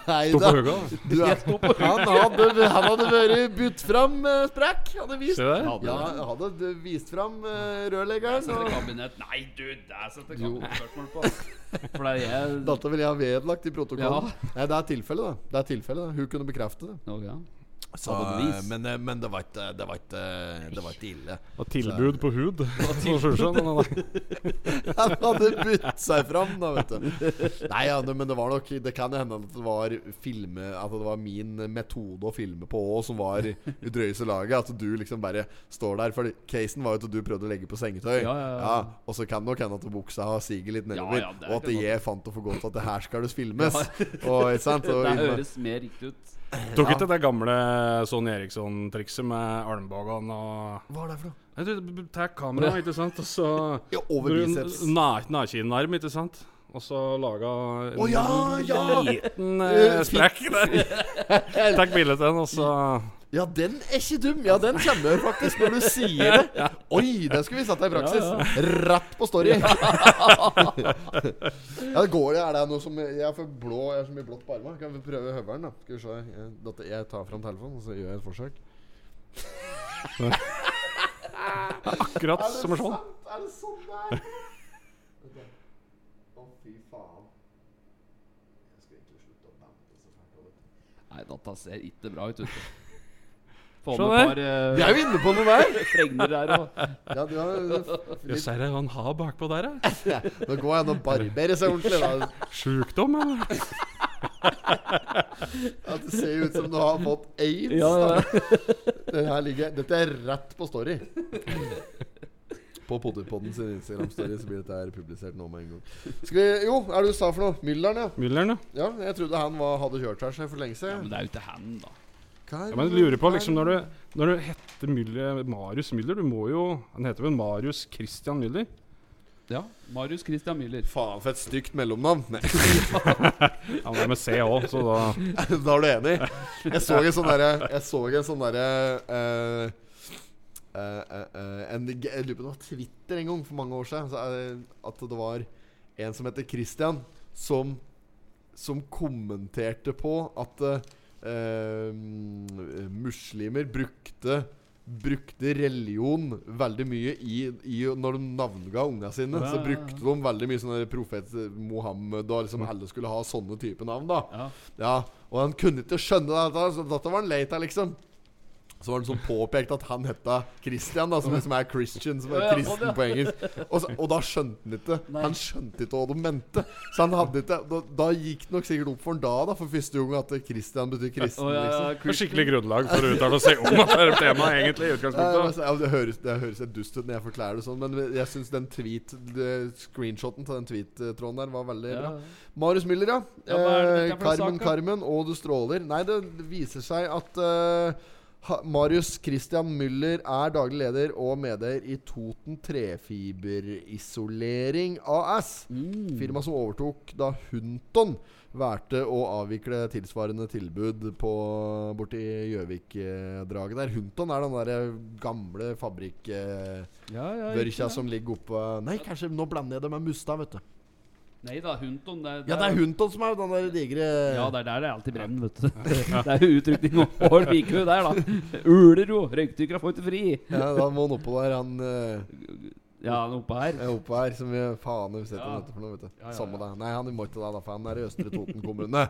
A: Nei
B: Stå på
A: da.
B: høga.
A: Du er
C: Jeg sto på
A: [LAUGHS] Han hadde, han hadde vært budt fram eh, sprekk. Hadde vist
B: Se der.
A: Ja, jeg hadde d- vist fram eh, rørleggeren.
C: Sette
A: Og
C: kabinett Nei, du, sånn der setter kabinett spørsmål på. For det er jeg [LAUGHS]
A: dette vil jeg ha vedlagt i protokollen.
C: Ja.
A: Nei, det er tilfellet, da. Det er tilfellet da Hun kunne bekrefte det.
C: Å, ja.
A: Så,
C: Antageligvis.
A: men, eh, men det var ikke Det var ikke, det var ikke ille.
B: Og tilbud på hud. Så skjønner jeg, nei, nei.
A: Han hadde bytt seg fram, da, vet du. Nei, ja, det, men det var nok Det kan jo hende at det var filme At det var min metode å filme på òg som var i drøyeste laget. At du liksom bare står der. For casen var jo at du prøvde å legge på sengetøy.
C: Ja, ja, ja.
A: og så kan det nok hende at buksa har siget litt nedover.
C: Ja, ja, det er
A: og at
C: det nok.
A: jeg fant det for godt at det her skal det filmes. Og, ikke sant? Og,
C: [LAUGHS] Det
A: inn-
C: høres mer riktig ut.
B: Tok ikke det gamle Sonny Eriksson-trikset med armbågene og
A: Hva er det for noe?
B: Nei, du, du tar kameraet, ikke sant, og så
A: Ja, over biceps.
B: Nakenarm, ikke sant? Og så laga en
A: Å, ja, ja!
B: liten eh,
A: Eh,
B: sprekk
A: [LAUGHS]
B: der. Takk bilde til den, og så
A: Ja, den er ikke dum! Ja, den kommer faktisk når du sier det. Oi, den skulle vi satt i praksis. Rett på story. [LAUGHS] Ja, det går det. Er det noe som Jeg er for blå Jeg er så mye blått på armene. Kan vi prøve høvelen, da? Skal vi se. Jeg- dette- Jeg tar fram telefonen, og så gjør jeg et forsøk.
B: akkurat som sånn.
A: Er det sånn [LAUGHS] det er? Å, fy faen. Jeg skal egentlig slutte å bante så fælt over det.
C: Nei, data ser ikke bra ut. vet du. Få
B: Se
C: med
B: der.
C: et par eh,
A: Vi er jo inne på noe der!
C: [LAUGHS] fregner der og
A: Ja, du har,
B: Jøss, er det hva han har bakpå der, ja?
A: nå går jeg an å barbere seg ordentlig, da.
B: Sjukdom, eller?
A: At det ser ut som du har fått aids. da. Det her ligger, dette er rett på story. På Potterpodden sin Instagram-story så blir dette her publisert nå med en gang. Skal vi, jo, hva er det du sa for noe? Mylleren, ja.
B: Myller'n, ja.
A: ja. Jeg trodde han var, hadde kjørt her seg for lenge
C: Men
A: siden.
C: det er jo ikke han, da.
A: Hva er
B: Ja, men jeg lurer på, liksom, når du, når du heter Müller, Marius Müller Du må jo Han heter vel Marius Christian Müller?
C: Ja, Marius Christian Müller.
A: Faen, for et stygt mellomnavn. Nei,
B: Han er med C òg, så da
A: [LAUGHS] da er du enig? Jeg så en sånn derre Jeg så en sånn derre eh, eh, eh, eh, en, jeg lurer på om det var Twitter en gang for mange år siden. Så, eh, at det var en som heter Christian, som, som kommenterte på at eh, eh, muslimer brukte Brukte religion veldig mye i, i Når de navnga unga sine,
C: Ja,
A: så
C: ja, ja.
A: brukte de veldig mye sånne profet Mohammed og liksom alle skulle ha sånne type navn, da.
C: Ja.
A: Ja, og han kunne ikke skjønne dette, så dette var han lei av, liksom. Så var det sånn påpekt at han heta Christian, da, som, som er Christian, som
C: Ja,
A: er
C: ja, sånn, ja.
A: kristen på engelsk. Og, så, og da skjønte han ikke
C: Nei.
A: Han skjønte ikke hva de mente. Så han hadde ikke Da, da gikk det nok sikkert opp for han da, da for første gang, at Christian betyr kristen.
C: Å, ja, ja,
A: liksom.
B: Det er
C: Christian.
B: skikkelig grunnlag for å uttale seg om at det er temaet, egentlig. i
A: Ja, det, var
B: utgangspunktet
A: så- altså, ja, det høres det høres helt dust ut når jeg forklarer det sånn, men jeg syns den tweet det- screenshoten til den tweet-tråden der var veldig bra.
C: Ja.
A: Marius Müller, ja.
C: Ja, hva er
A: Eh,
C: det dette for en
A: Carmen,
C: sak, da?
A: Carmen og Du stråler. Nei, det viser seg at eh, ha- Marius Christian Müller er daglig leder og medeier i Toten Trefiberisolering AS.
C: Mm.
A: Firmaet som overtok da Hunton valgte å avvikle tilsvarende tilbud på borti Gjøvik-draget der. Hunton er den der gamle fabrikk... Eh,
C: Ja, ja,
A: Børkja som ligger oppå Nei, kanskje nå blander jeg det med Mustad, vet du.
C: Nei da, Hunton. Det,
A: Ja, det er Hunton som er den der digre
C: Ja, det er der det er alltid brenner,
A: [LAUGHS]
C: vet du. Det er jo utrykning og hår liker jo der, da. Uler jo. Røykdykkere får ikke fri.
A: Ja, da må han oppå der, han eh,
C: Ja, han er oppe her.
A: er oppå her, som vi faen har sett
C: Ja.
A: han heter for noe, vet du.
C: Ja, ja,
A: Samme
C: ja.
A: det. Nei, han må ikke det, da, for han er i Østre Toten kommune.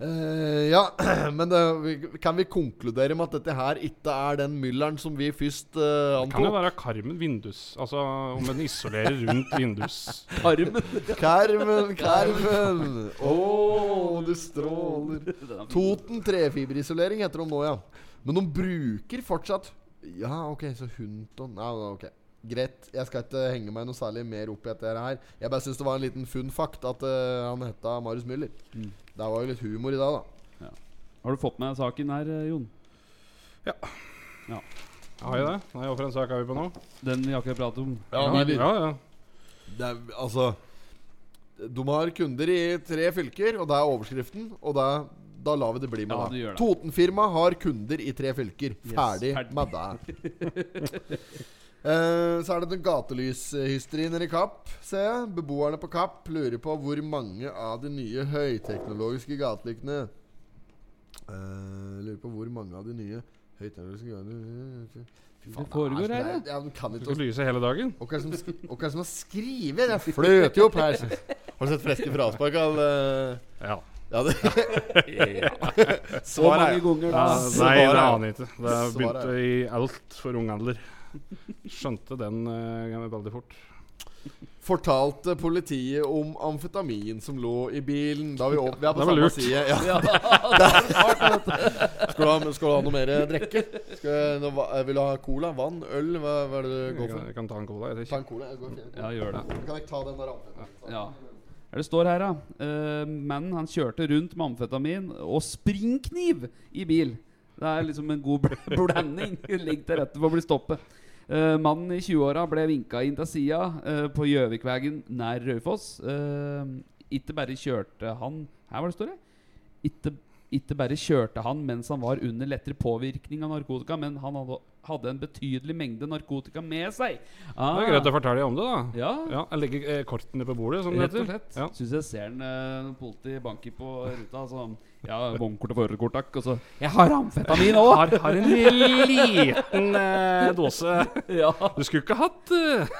A: Eh, ja, [CLEARS THROAT] men det, vi- kan vi konkludere med at dette her ikke er den mylleren som vi først eh,
B: Kan jo
A: antok?
B: være Carmen vindus. Altså om en isolerer rundt vindus.
C: Armen. [LAUGHS]
A: Karmen, Karmen! Å, du stråler.
C: [LAUGHS] Den er fin.
A: Toten trefiberisolering heter de nå, ja. Men de bruker fortsatt Ja, OK, så Hunton Ja, OK. Greit. Jeg skal ikke henge meg noe særlig mer opp i dette her. Jeg bare syns det var en liten fun fact at eh, han heta Marius Müller.
C: Mm.
A: Det var jo litt humor i dag, da.
C: Har du fått med deg saken her, eh, Jon?
B: Har jeg det? Nei, hva for en sak er vi på nå?
C: Den vi akkurat pratet om.
B: ja, ja.
A: Det er, altså De har kunder i tre fylker, og det er overskriften. Og det, da lar vi det bli med
C: Ja,
A: det.
C: du gjør det.
A: Totenfirmaet har kunder i tre fylker.
C: Yes,
A: Ferdig
C: ferdig.
A: med det. [LAUGHS] Eh, så er det den gatelyshysterien nede i Kapp, ser jeg. Beboerne på Kapp lurer på hvor mange av de nye høyteknologiske gatelyktene Eh, Lurer på hvor mange av de nye høyteknologiske gatelyktene Fy
C: Det foregår
A: det er,
C: her,
A: så- det er, ja, du kan
B: Du
A: ikke
B: skal lyse hele dagen.
A: og hva er det som sk- og hva er det som har skrevet? Jeg fløter jo opp her. Har du sett freske fraspark av eh,
B: Ja.
A: Ja,
C: [LAUGHS]
A: det,
C: Så mange ganger da.
B: Ja, nei,
A: Svaret
B: det
A: er-
B: aner jeg ikke. Det
A: Svaret
B: begynte i alt for ung alder. Skjønte den eh, veldig fort.
A: fortalte politiet om amfetamin som lå i bilen da vi opp, Vi er på
B: Det var
A: samme
B: lurt.
A: side. Ja. [LAUGHS]
C: Ja, det er smart, vet du.
A: Skal, du ha, skal du ha noe mer drikke? Skal, nå, hva- vil du ha cola, vann, øl? Hva, hva er det du
B: Jeg
A: går
B: kan,
A: for?
B: jeg kan ta en cola. Jeg,
A: Ta en cola. Jeg går fint.
C: Ja, gjør det.
A: Kan jeg ta den der amfetaminen?
C: Ja. Hva er det står her, da? Eh, Mannen han kjørte rundt med amfetamin og springkniv i bil. Det er liksom en god bl- [LAUGHS] blanding. Ligg til rette for å bli stoppet. Eh, mannen i 20-åra ble vinka inn til sida eh, på Gjøvikvegen nær Raufoss. Eh, ikke bare kjørte han Her var det står det. Ikke, ikke bare kjørte han mens han var under lettere påvirkning av narkotika, men han hadde, hadde en betydelig mengde narkotika med seg. Ah,
B: det er greit å fortelle om det, da.
C: Ja,
B: Ja, jeg legger eh, kortene på bordet, som det
C: Rett og
B: heter.
C: slett.
B: Ja.
C: Syns jeg ser en eh, politi banke på ruta. Sånn, ja, vognkort og førerkort, takk. Og så Jeg har [LAUGHS] amfetamin òg!
B: Har, har en liten eh, dåse
C: [LAUGHS] ja,
B: Du skulle ikke hatt eh,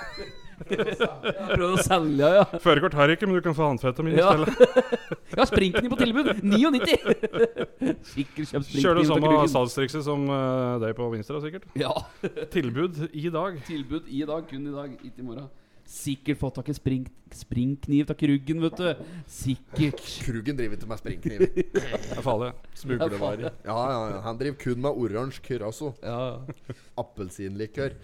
C: prøvd å selge, ja.
B: Førerkort har jeg ikke, men du kan få amfetamin i
C: Ja.
A: [LAUGHS]
B: stedet.
C: Ja, sprinkni på tilbud! 99! [LAUGHS] Sikkert kjøpt sprinkni.
B: Kjører
C: ut
B: det
C: av
B: samme
C: kroken.
B: salgstrikset som eh, deg på Vinstra, sikkert.
C: Ja.
B: Tilbud i dag.
C: Tilbud i dag, kun i dag, ikke i morgen. Sikkert fått tak i spring, springkniv tak i ryggen, vet du. Sikkert. [LAUGHS]
A: Krugen driver ikke med springkniv.
B: Det er farlig.
A: Smuglervarer. Ja, ja, ja. Han driver kun med oransje altså. curacao.
C: Ja.
A: Appelsinlikør.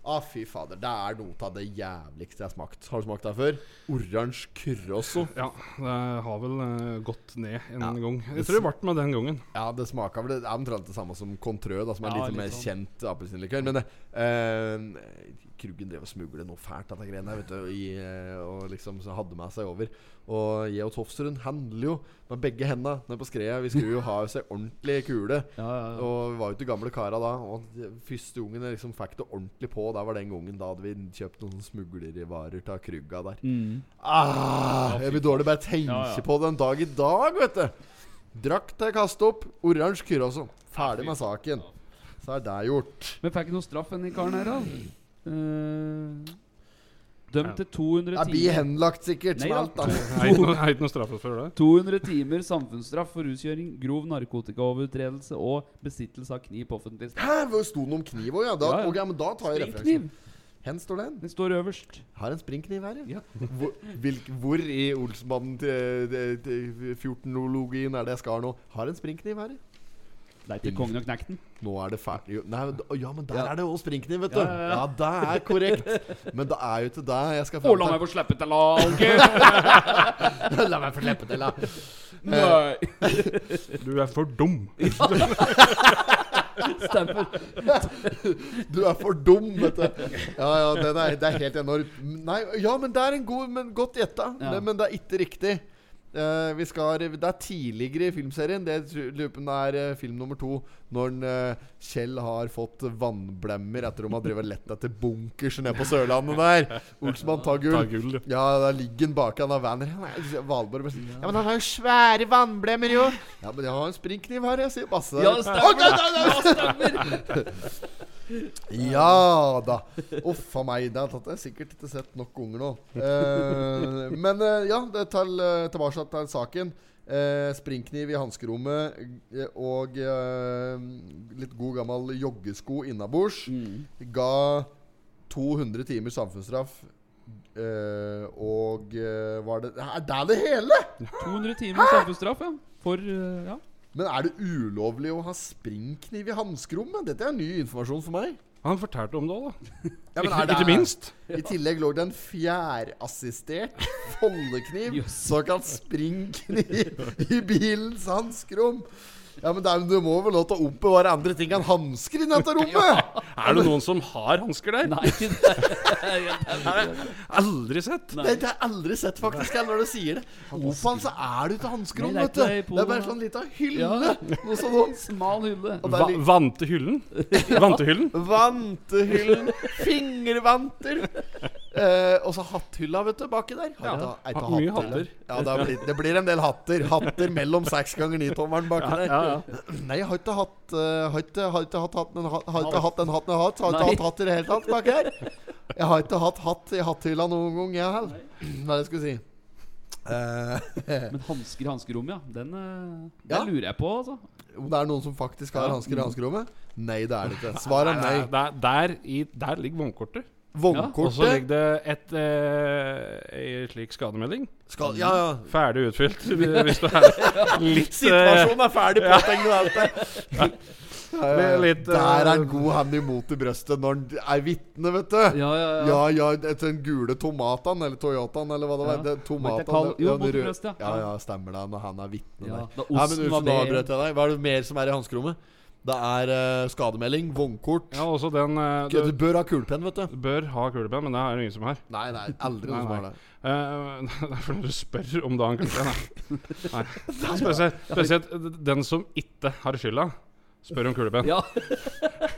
A: Å, ah, fy fader. Det er noe av det jævligste jeg har smakt. Har du smakt det før? Oransje curacao.
B: Ja, det har vel eh, gått ned en
A: Ja.
B: gang. Jeg tror det ble med den gangen.
A: Ja, det smaker vel Det er omtrent det samme som Contrø, da, som er
C: Ja,
A: litt
C: litt
A: mer
C: sånn.
A: kjent appelsinlikør. Men eh, Krugen drev og smuglet noe fælt, dette greiene her, vet du. I, eh, og liksom så hadde med seg over. Og jeg og Tofsrud handler jo med begge hendene nede på skredet. Vi skulle jo ha seg ordentlig kule.
C: Ja, ja, [LAUGHS] ja.
A: Og vi var jo til gamle kara da. Og det- første gangen jeg liksom fikk det ordentlig på, da var den gangen da hadde vi kjøpt noen smuglervarer av Krugga der.
C: Mm.
A: Ah, jeg blir dårlig bare tenke
C: Ja, ja.
A: på det en dag i dag, vet du. Drakk til jeg kastet opp. Oransje Curacao. Ferdig med saken. Så er det gjort.
C: Men fikk ikke noe straff, den karen her, da. Eh, dømt til 200
A: Jeg blir
C: timer.
A: henlagt sikkert, som
C: Nei da.
A: alt, da. [LAUGHS]
B: Jeg er ikke noe- jeg er ikke noe straffet for det.
C: 200 timer samfunnsstraff for ruskjøring, grov narkotikaovertredelse og besittelse av kniv på offentlig sted.
A: Hæ, hvor sto den om kniv òg, ja? Da,
C: Ja, ja.
A: ok, men da tar jeg referansen.
C: Springkniv!
A: Hen står den.
C: Den står øverst.
A: Har en springkniv her, ja.
C: Ja.
A: Hvor, hvilk, hvor i Olsmannen til, til- til 14-ologien er det jeg skal nå? Har en springkniv her, ja.
C: Det er ikke kongen og knekten.
A: Nå er det ferdig jo, Nei, d- å, ja, men der
C: Ja.
A: er det også springkniv, vet du.
C: Ja,
A: Ja,
C: ja, ja.
A: det er korrekt. Men det er jo ikke det jeg skal
C: Å, la meg få slippe til [LAUGHS] laget!
A: [LAUGHS] La meg få slippe til, da.
C: Nei!
B: Du er for dum.
C: [LAUGHS] Stemmer.
A: Du er for dum, vet du. Ja, ja, den er, det er helt enormt. Nei, ja, men det er en god Men godt gjetta.
C: Ja.
A: Det- Men det er ikke riktig. Eh, vi skal, det er tidligere i filmserien. Det tru- lurer på om det er eh, film nummer to. Når en, eh, Kjell har fått vannblemmer etter om han drevet lett etter bunkers nede på Sørlandet der. Olsmann tar
B: Ta
A: gull.
B: gull.
A: Ja, da ligger han bak han av Werner. Han er- Valborg bare sier, Ja, men han har jo svære vannblemmer, jo. Ja, men jeg har en springkniv her, jeg, sier Basse.
C: Ja, det stemmer.
A: Å, nei, nei, nei. Ja da. Uff a meg. Det har jeg sikkert ikke sett nok unger nå. Eh, men eh, ja, det tar eh, tilbake til saken. Eh, springkniv i hanskerommet eh, og eh, litt god gammel joggesko innabords
C: Mm.
A: ga 200 timer samfunnsstraff. eh, og eh, var det Er det det hele?!
C: 200 timer samfunnsstraff, ja. For eh, ja.
A: Men er det ulovlig å ha springkniv i hanskerommet? Dette er ny informasjon for meg.
B: Han fortalte om det òg, da.
A: Ja, men
B: Ikke-
A: er det-
B: Ikke minst.
A: I tillegg lå det en fjærassistert foldekniv,
C: Jøss.
A: såkalt springkniv, i bilens hanskerom. Ja, men det er, du må vel lov til å oppbevare andre ting enn hansker i dette rommet!
B: Er det noen som har hansker der?
C: [LAUGHS] Nei, det er
B: Aldri sett.
A: Det, det har jeg aldri sett, faktisk, jeg, når du sier det. Hvorfor så er du til hanskerom,
C: Nei,
A: vet
C: det
A: du?
C: er ikke det i
A: Det er bare
C: Polen,
A: sånn lita
C: ja.
A: hylle. Noe sånn
C: Smal hylle.
A: Og
B: Va
A: der ligger [LAUGHS]
B: vante hyllen? Vante hyllen?
C: [LAUGHS]
A: Vantehyllen. Fingervanter. Eh, og så hatthylla, vet du, baki der. Har
B: Ja,
A: du ta- er du ta
B: mye
A: hatthylla?
B: hatter.
A: Ja, det, er blitt, det blir en del hatter. Hatter mellom seks ganger ni-tommeren baki der.
B: Ja, ja.
A: [CLEARS THROAT] Nei, jeg har ikke hatt eh, Har ikke, har ikke hatt hatten en hatt, har ikke hatt en hatten en hatt. Har ikke
C: Nei.
A: hatt hatt i det hele tatt [CLEARS THROAT] baki her. Jeg har ikke hatt hatt i hatthylla noen gang, jeg heller. Hva er det jeg skulle si? Eh,
C: Men hansker i hanskerommet, ja. Den, eh,
A: Ja.
C: den lurer jeg på, altså.
A: om det er noen som faktisk har
C: Ja.
A: hansker i hanskerommet? Nei, det er det ikke. Svaret er Mm. nei.
B: Der, der, i, der ligger vognkortet. Og så ligger
A: Vognkortet
B: det et eh, ei slik skademelding.
A: skal Ja, ja.
B: Ferdig utfylt, [LAUGHS] hvis du er litt eh,
A: Situasjonen er ferdig påtegnet alt det.
B: [LAUGHS] Det er litt, eh,
A: Der er en god hand imot i brøstet når han er vitne, vet du.
C: Ja, ja, ja.
A: Ja, ja, etter den gule tomataen, eller Toyotaen, eller hva det var.
C: Ja.
A: Det,
C: Mot det
A: tomataen,
C: kall-
A: det-
C: jo,
A: ja, den
C: mot det
A: røde-
C: brøstet, ja.
A: ja. Ja, stemmer det, når han er vitne
C: Ja,
A: der.
C: da
A: Ja, men
C: osten
A: Ulf,
C: var
A: nå
C: med-
A: avbrøt jeg deg. Hva er det mer som er i hanskerommet? Det er eh, skademelding, vognkort
B: Ja, også den eh,
A: Du
B: du,
A: bør ha kulepenn, vet du.
B: bør ha kulepenn, men det er det ingen som har.
A: Nei, nei, aldri
B: Nei,
A: noen som
B: nei.
A: har det.
B: Eh, [LAUGHS] det er fordi du spør om du har en kulepenn. Nei. Nei. Spesielt, spesielt den som ikke har skylda, spør om kulepenn.
C: Ja.
B: [LAUGHS]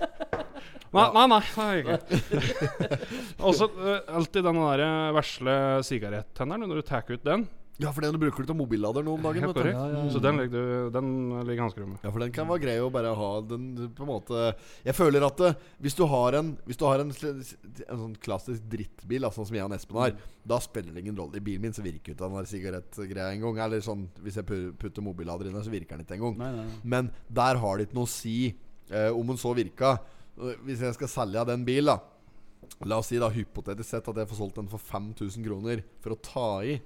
B: Nei, nei, nei. det har jeg ikke. [LAUGHS] Også eh, alltid den der vesle sigarettenneren, når du tar ut den.
A: Ja, for den bruker du til mobillader nå om dagen.
B: Helt
A: Vet du.
B: korrekt. Så den ligger, du- den ligger i hanskerommet.
A: Ja, for den kan være grei å bare ha den på en måte Jeg føler at eh, hvis du har en Hvis du har en, sl- en sånn klassisk drittbil, altså, sånn som jeg og Espen har, da spiller det ingen rolle. I bilen min så virker jo ikke den der sigarettgreia engang. Eller sånn hvis jeg pu- putter mobillader inn der, så virker den ikke engang.
C: Nei, nei, nei.
A: Men der har det ikke noe å si eh, om den så virka. Eh, Hvis jeg skal selge av den bilen, da. La oss si da hypotetisk sett at jeg får solgt den for 5000 kroner for å ta i.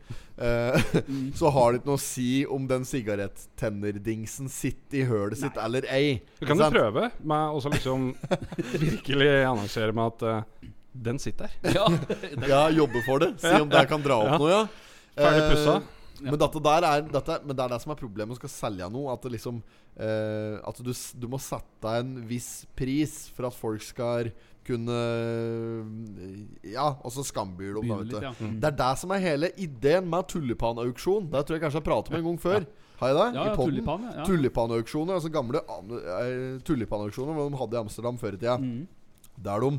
A: Eh, [LAUGHS] så har det ikke noe å si om den sigarettennerdingsen sitter i hølet sitt eller ei.
B: Du
A: Ikke
B: kan jo
A: sant?
B: prøve med å liksom
A: [LAUGHS]
B: virkelig annonsere med at eh, den sitter der.
C: Ja.
A: Ja, jobbe for det. Si om det her kan dra opp
B: Ja.
A: noe, ja.
B: Ferdig pussa.
A: Eh, Men, dette der er, dette, men det er det som er problemet når du skal selge noe. At, det liksom, eh, at du, s- du må sette en viss pris for at folk skal kunne Ja, altså skambyr dem, da,
C: Begynne
A: vet du.
C: litt, ja. Mm.
A: Det er det som er hele ideen med tulipanauksjon. Det tror jeg kanskje jeg pratet om en gang før. Har jeg det?
C: Ja,
A: I
C: ja,
A: podden?
C: tulipan, ja, ja.
A: Tulipanauksjoner, altså gamle an- eh, tulipanauksjoner Hva de hadde i Amsterdam før i
C: Mm.
A: tida. Der de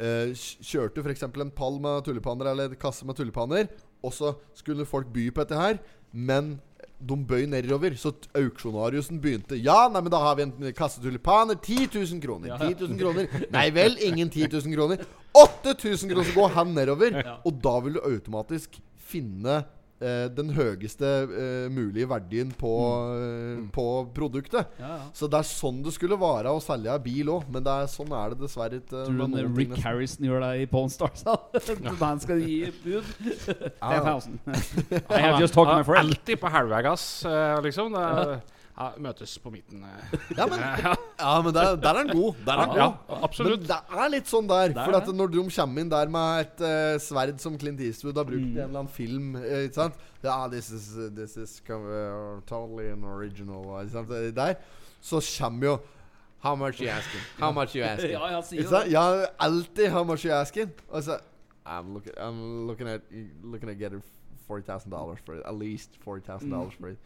A: eh, kj- kjørte f.eks. en pall med tulipaner eller en kasse med tulipaner, og så skulle folk by på dette her, men de bøy nedover, så t- auksjonariusen begynte Ja, nei, men da har vi en kasse tulipaner. 10 000 kroner. 10 000 kroner. Nei vel, ingen 10 000 kroner. 8000 kroner, så går han nedover. Og da vil du automatisk finne eh, den høyeste eh, mulige verdien på, eh, på produktet.
C: ja, ja.
A: Så det er sånn det skulle være å selge en bil òg, men det er, sånn er det dessverre ikke.
C: Tror du
A: med
C: den
A: noen ting,
C: Rick
A: nesten.
C: Harrison gjør det i Pawn Stars? da? [LAUGHS] Når Han skal gi et bud. 10,000. I have just talked to my friend.
B: Alltid på halvvei gass, eh, liksom. Det er, ja, møtes på midten. eh.
A: Ja, men, ja, men der, der er den god. Der er den god.
B: Ja, absolutt.
A: Men det er litt sånn der.
C: er
A: For at
C: det.
A: når de kommer inn der med et eh, sverd som Clint Eastwood har brukt i en eller annen film eh, Ikke sant? Ja, this is, this is kind of, uh, totally an original eh, Ikke sant? Det Der. Så kommer jo How much you asking? How much you asking?
C: Ja, ja, sier
A: Ikke sant? Ja, alltid how much you asking? Og så I'm looking, I'm looking at Looking at getting $40,000 for it. At least $40,000 for it.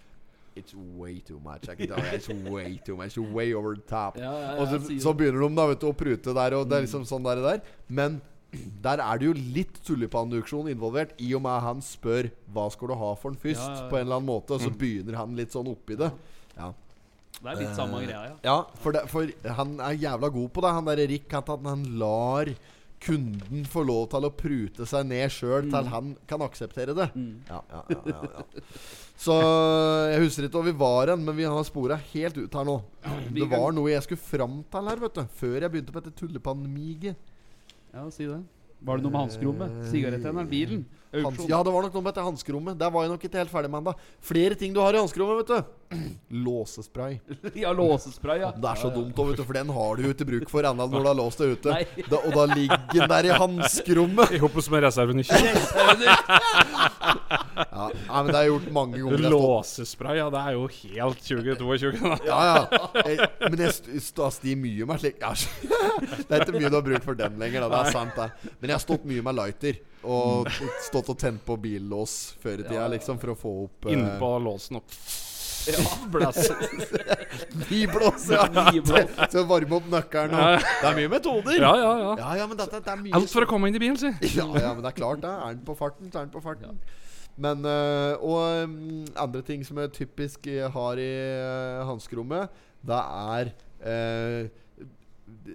A: It's way too much. I can tell you, it's way too much. Way over the top.
C: Ja, ja, ja,
A: og så,
C: sier Mm.
A: så begynner de da, vet du, å prute der, og det er liksom sånn der, og der. Men der er det jo litt tulipanauksjon involvert, i og med at han spør hva skal du ha for den først,
C: Ja, Mm. ja, ja.
A: på en eller annen måte, og så begynner han litt sånn oppi det. Ja.
C: Det er litt samme greia, ja.
A: Ja, for, det, for han er jævla god på det, han derre Rick. At han, han lar kunden få lov til å prute seg ned sjøl til han kan akseptere det.
C: Mm.
A: Ja, ja, ja, ja, ja. [LAUGHS] Så jeg husker ikke hvor vi var hen, men vi har spora helt ut her nå.
C: vi
A: Det
C: kan-
A: var noe jeg skulle fram til her, vet du. Før jeg begynte på dette tullepannmiget.
C: ja si det. Var det noe med hanskerommet? Sigarettenneren? Bilen?
A: Eh, Hans,
C: Auksjon?
A: ja, det var nok noe med dette hanskerommet. Der var jeg nok ikke helt ferdig med ennå. Flere ting du har i hanskerommet, vet du. [CLEARS THROAT] Låsespray.
C: [LAUGHS] Ja, låsespray, ja.
A: Det er så dumt, da, vet du, for den har du jo ikke bruk for ennå når du har låst deg ute.
C: Nei. [LAUGHS]
A: Da, og da ligger den der [LAUGHS] i hanskerommet.
B: I hoppes med reservenykker.
A: Ja, nei, men det har jeg gjort mange ganger. jeg står-
B: Låsespray, ja. Det er jo helt 2022. da.
A: Ja, ja. Jeg, men jeg st- st- har sti mye med slik ja, [LAUGHS] Det er ikke mye du har bruk for den lenger, da. Det er sant, det. Men jeg har stått mye med lighter. Og stått og tent på billås før i tida, liksom, for å få opp eh, [LAUGHS]
B: Innpå låsen opp. Blæs.
A: Biblås, ja.
B: [LAUGHS]
C: Biblås.
A: Til å varme opp nøkkelen og Det er mye metoder.
B: Ja, ja, ja.
A: Ja, ja, men dette, det er mye
B: Alt for å komme inn i bilen, si.
A: Ja, ja, men det er klart det. Er den på farten, så er den på farten. Men øh, Og øhm, andre ting som jeg eh, typisk øh, har i øh, hanskerommet, det er øh,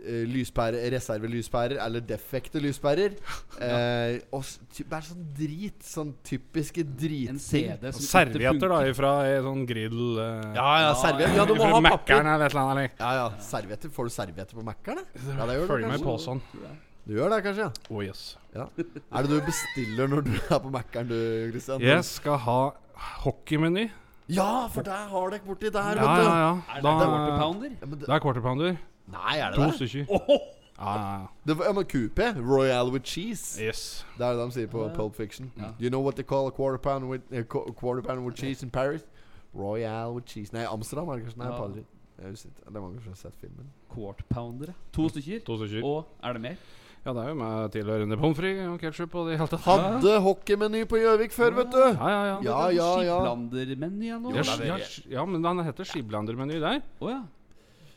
A: eh, lyspære, reservelyspærer eller defekte lyspærer. Eh, og s- ty- bare sånn drit. Sånn typiske drit.
C: En CD som
B: Servietter, da, ifra ei sånn grill eh,
A: Ja, ja, serviett. Ja, du må
B: Fra
A: ha
B: Mækkern
A: papir.
B: eller et eller annet.
A: Ja, ja, servietter. Får du servietter på Mækkern? da? Ja, det gjør du
B: Følg med i
A: kanskje.
B: posen.
A: Du gjør det kanskje, ja.
B: Oh, yes.
A: ja. Er det du bestiller når du er på Mækkern, du, Christian?
B: Jeg skal ha hockeymeny.
A: Ja, for der har dere borti der,
B: Ja,
A: vet du.
B: ja, ja.
C: Er det quarter
B: Da,
C: pounder?
A: Ja, men det,
B: det er quarter pounder.
A: nei, er det
B: To
A: det?
B: stykker. Ja, ja, ja.
A: det var- ja, men QP. Royal with cheese.
B: Yes.
A: Det er det de sier på Pulp Fiction.
C: Ja.
A: You know what they call a quarter pound with, eh, qu- quarter pound with cheese in Paris? Royal with cheese Nei, Amsterdam er det kanskje. Nei,
C: Ja.
A: på Paris. Jeg husker ikke. Det var kanskje jeg har sett filmen.
C: Quart pounder, ja. To stykker.
B: To stykker.
C: Og er det mer?
B: Ja, det er jo med tilhørende pommes frites og ketsjup og det hele tatt.
A: Hadde hockeymeny på Gjøvik før, vet du!
B: Ja, ja, ja.
A: Ja, ja, ja.
C: Skiplandermeny eller
B: Ja,
C: noe?
B: s- ja, s- ja, men den heter Skiblandermeny der.
C: Å ja.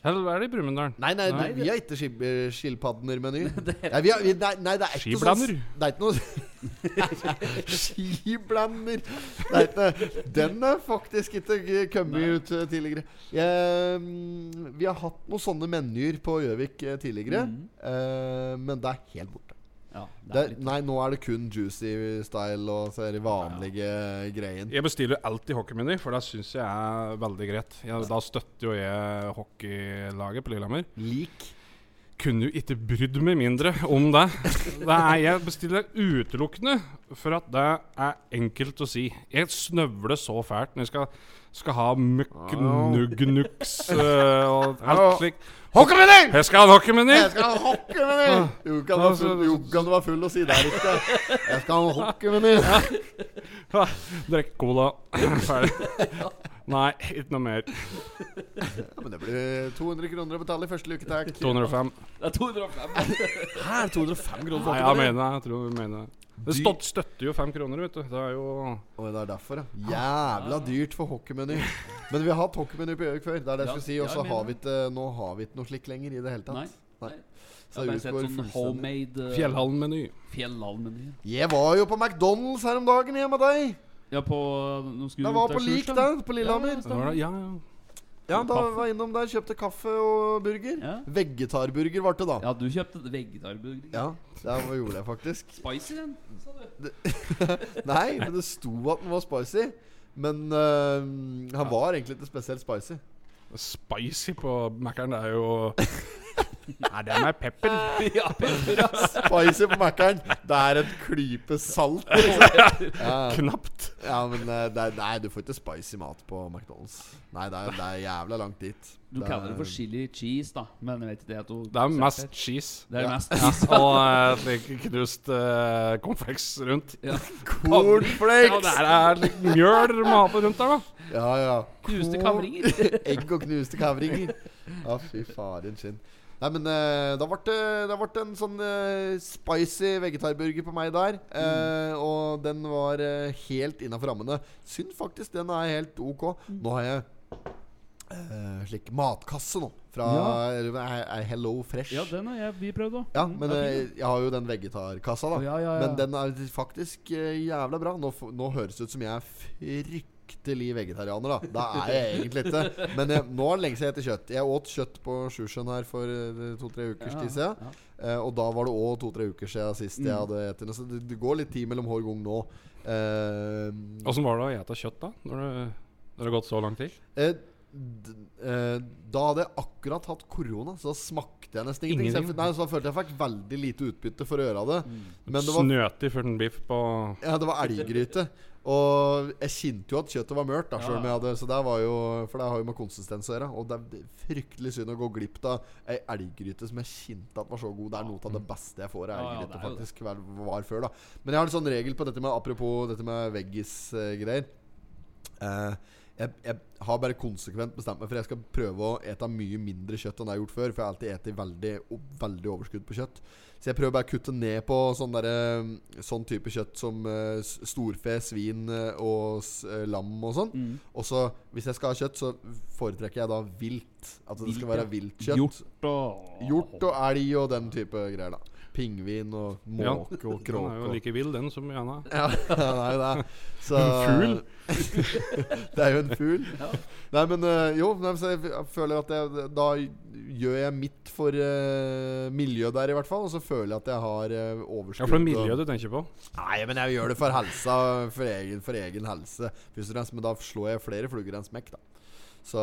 B: Eller er det i Brumunddal?
A: Nei, nei,
B: Nei,
A: vi har ikke skib- eh,
B: [LAUGHS]
A: skilpadder-meny. Nei, vi har, vi, nei, nei, det er ikke
B: Skiblander.
A: sånn s- Det er ikke noe [LAUGHS] Skiblander! Det er ikke, den er faktisk ikke g- kommet
C: Nei.
A: ut eh, tidligere. Eh, mm, vi har hatt noen sånne menyer på Gjøvik eh, tidligere, eh, men det er helt borte.
C: ja Mm. det
A: Det
C: er
A: er,
C: litt
A: nei, nå er det kun juicy style og så er det vanlige greien.
B: Jeg bestiller alltid hockeymeny, for det syns jeg er veldig greit. Jeg, da støtter jo jeg hockeylaget på Lillehammer.
A: Lik.
B: Kunne jo ikke brydd meg mindre om det. det er, jeg bestiller utelukkende for at det er enkelt å si. Jeg snøvler så fælt når jeg skal, skal ha møkk nugg-nuks og alt slikt.
A: Hockeymenyer!
B: Jeg skal ha en hockeymeny!
A: Jeg skal ha
C: Ah.
A: hockeymenyer! Jo, kan du være full- jo, kan du være full og si det er ikke Jeg skal ha hockeymenyer!
B: Drikke cola. Ferdig. Nei, ikke noe mer.
A: Ja, men det blir 200 kroner å betale i første luke, takk.
B: 205.
C: Det er 205.
A: Her, 205 kroner
B: Nei, jeg mener det. Jeg tror jeg mener det. Det støt, støtter jo fem kroner, vet du. Det er jo
A: Oi, det er derfor, ja.
C: Ah.
A: Jævla dyrt for hockeymenyer. Men vi har hatt hockeymenyer på Gjøvik før. Det er det jeg
C: Ja,
A: skulle si. Og
C: ja,
A: så
C: jeg
A: har
C: mener
A: vi ikke eh, Nå har vi ikke noe slikt lenger i det hele
C: Nei.
A: tatt. Nei.
C: Jeg har bare sett
A: utgår
C: sånn
A: fullstendig.
C: homemade eh,
B: Fjellhallen-meny.
C: Fjellhalmeny.
A: Jeg var jo på McDonald's her om dagen hjemme med deg.
C: Ja, på Nå skulle
A: Det
C: vi
A: var
C: til
A: på Lik
C: Sjusjøen.
A: der, på Lillehammer.
C: Ja,
B: Det var det- Ja, ja.
A: Ja, da
C: Kaffe.
A: var jeg innom der, kjøpte kaffe og burger.
C: Ja.
A: Vegetarburger ble det da.
C: Ja, du kjøpte vegetarburger.
A: Ja, det gjorde jeg faktisk.
C: Spicy, den, sa du.
A: [LAUGHS] Nei, men det sto at den var spicy. Men øh, han var egentlig ikke spesielt spicy.
B: Spicy på Mækkern, det er jo [LAUGHS] Nei, det er med pepper.
C: ja, pepper, ass.
A: Spicy på Mækkern, det er et klype salt. liksom.
C: [LAUGHS]
A: Ja,
B: [LAUGHS] Knapt.
A: ja men øh, det er, Nei, du får ikke spicy mat på McDonald's. Nei, det er, det er jævla langt dit.
C: Du kaller det for chili cheese, da, men jeg vet ikke det at hun
B: Det er mest [LAUGHS] cheese.
C: Det er
A: Ja.
C: mest cheese.
A: [LAUGHS]
B: Og eh, slik knust eh, cornflakes rundt.
C: Ja.
B: Ja,
A: cornflakes!
B: det er litt mjøl de har på rundt der, da.
A: Ja, ja.
C: Knuste
A: Corn- [LAUGHS]
C: kavringer.
A: Egg og knuste kavringer. Ja, fy faren sin. Nei, men eh, da ble det da ble det en sånn eh, spicy vegetarburger på meg der.
C: Mm.
A: eh, Og den var eh, helt innafor rammene. Synd faktisk, den er helt ok.
C: Mm.
A: Nå har jeg eh, slik matkasse nå. Fra eh, Hello Fresh.
C: Ja, den har jeg, vi prøvd Mm. òg.
A: Ja, men eh, jeg har jo den vegetarkassa, da.
C: Å, ja, ja, ja.
A: Men den er faktisk eh, jævla bra. Nå, f- nå høres det ut som jeg er fryktelig vegetarianer, da. Det er jeg egentlig ikke. Men jeg, nå er det lenge siden jeg spiser kjøtt. Jeg åt kjøtt på Sjusjøen her for eh, to-tre ukers tid siden. Eh, og da var det òg to-tre uker siden sist jeg
C: Mm.
A: hadde spist den. Så det, det går litt tid mellom hver gang nå. Eh,
B: Åssen var det å ete kjøtt, da? Når det, når det har gått så lang tid?
A: eh, d, eh, da hadde jeg akkurat hatt korona, så da smakte jeg nesten ingenting. Så, jeg,
B: Ingenting.
A: f- nei, så da følte jeg fikk veldig lite utbytte for å gjøre det.
C: Mm.
A: Men det var
B: Snøtig før den biff på
A: Ja, det var elggryte. Og jeg kjente jo at kjøttet var mørt, da, selv om jeg hadde, så det var jo, for det har jo med konsistens å gjøre. Og det er det er fryktelig synd å gå glipp av ei elggryte som jeg kjente at var så god. Det er noe av det beste jeg får av
C: Ja, ja,
A: elggryte,
C: det er jo det.
A: faktisk. Var, var før, da. Men jeg har en sånn regel på dette med Apropos dette med eh, veggis-greier. Eh, jeg, jeg har bare konsekvent bestemt meg for jeg skal prøve å ete mye mindre kjøtt enn jeg har gjort før. For jeg har alltid spist veldig, o- veldig overskudd på kjøtt. Så jeg prøver bare å kutte ned på sånn, derre, sånn type kjøtt som eh, s- storfe, svin eh, og s- eh, lam og sånn. Og så, hvis jeg skal ha kjøtt, så foretrekker jeg da vilt. At det
C: Vilt,
A: skal være
C: ja.
A: vilt kjøtt.
C: Hjort og
A: Hjort og elg og den type greier, da. pingvin og måke og
B: Den er
A: kråke.
B: jo
A: og-
B: like vill, den, som gjerne
A: [LAUGHS] Ja, han er jo det. Så,
B: En
A: [LAUGHS] det er jo en fugl. Nei, men øh, jo, nei, så jeg f- føler at jeg, da gjør jeg mitt for øh, miljøet der, i hvert fall. Og så føler jeg at jeg har øh, overskudd.
B: Ja, for det er
A: og-
B: miljøet du tenker på.
A: Nei, men jeg gjør det for helsa. For egen, for egen helse. Først og fremst, men da slår jeg flere fluger enn smekk, da. Så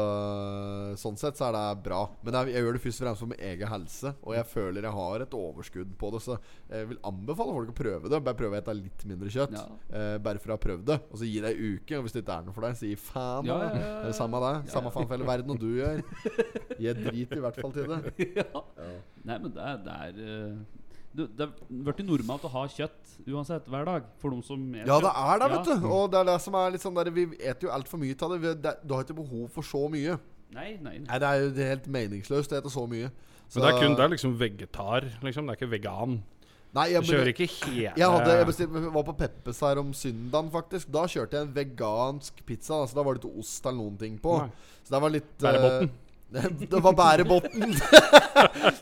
A: Sånn sett så er det bra. Men jeg, jeg gjør det først og fremst for min egen helse. Og jeg føler jeg har et overskudd på det, så jeg vil anbefale folk å prøve det. Bare prøve å ete litt mindre kjøtt.
C: Ja.
A: Eh, bare for å ha prøvd det. Og så gi det ei uke. Og hvis det ikke er noe for deg, si faen.
C: Ja,
A: da.
C: ja, ja,
A: Eh, Samme det.
C: ja.
A: Samme faen for hele verden og du gjør. Gi drit i hvert fall til det.
C: [LAUGHS] ja. Nei, men det er, det er eh, du, Det er blitt normalt å ha kjøtt uansett hver dag. For de som er
A: Ja, det er det,
C: Ja.
A: vet du. Og det er det som er litt sånn der Vi eter jo altfor mye av det. Vi- det. Du har ikke behov for så mye.
C: Nei, nei, nei.
A: Nei, det er jo det er helt meningsløst å ete så mye. Så-
B: Men det er kun det er liksom vegetar, liksom. Det er ikke vegan.
A: Nei, jeg,
B: Du kjører
A: men,
B: ikke hele
A: jeg, hadde, jeg bestilte- var på Peppes her om søndagen, faktisk. Da kjørte jeg en vegansk pizza. Altså, da var det ikke ost eller noen ting på.
B: Nei.
A: Så det var litt
B: Bærebotn.
A: eh, [LAUGHS] det var
B: [LAUGHS]
A: bærebotn.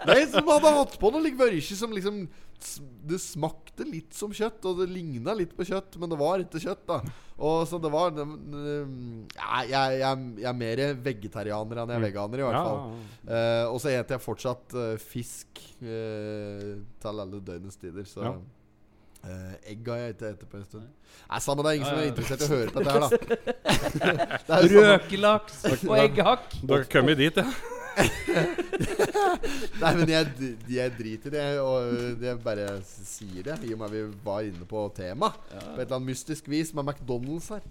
A: Nei, som hadde hatt på noe like børje som liksom s- Det smakte litt som kjøtt, og det ligna litt på kjøtt, men det var ikke kjøtt, da. Og så det var det- det- ja, jeg, jeg, jeg er mer vegetarianer enn jeg er veganer, i hvert
B: Mm. Ja,
A: fall.
B: ja, ja.
A: Eh, og så eter jeg fortsatt eh, fisk eh, til alle døgnets tider, så
B: Ja.
A: eh, Egg har jeg ikke spist på en stund. Nei, samme det, er ingen som
C: Ja,
A: er
C: ja.
A: interessert i å høre på dette
C: [LAUGHS]
A: her, da. det sånn- er jo samme-
C: Røkelaks og eggehakk.
B: Du har ikke kommet dit, ja.
A: Nei, men jeg, d- jeg driter i det, og jeg bare sier det, i og med at vi var inne på tema På et eller annet mystisk vis med McDonald's her.
B: Det er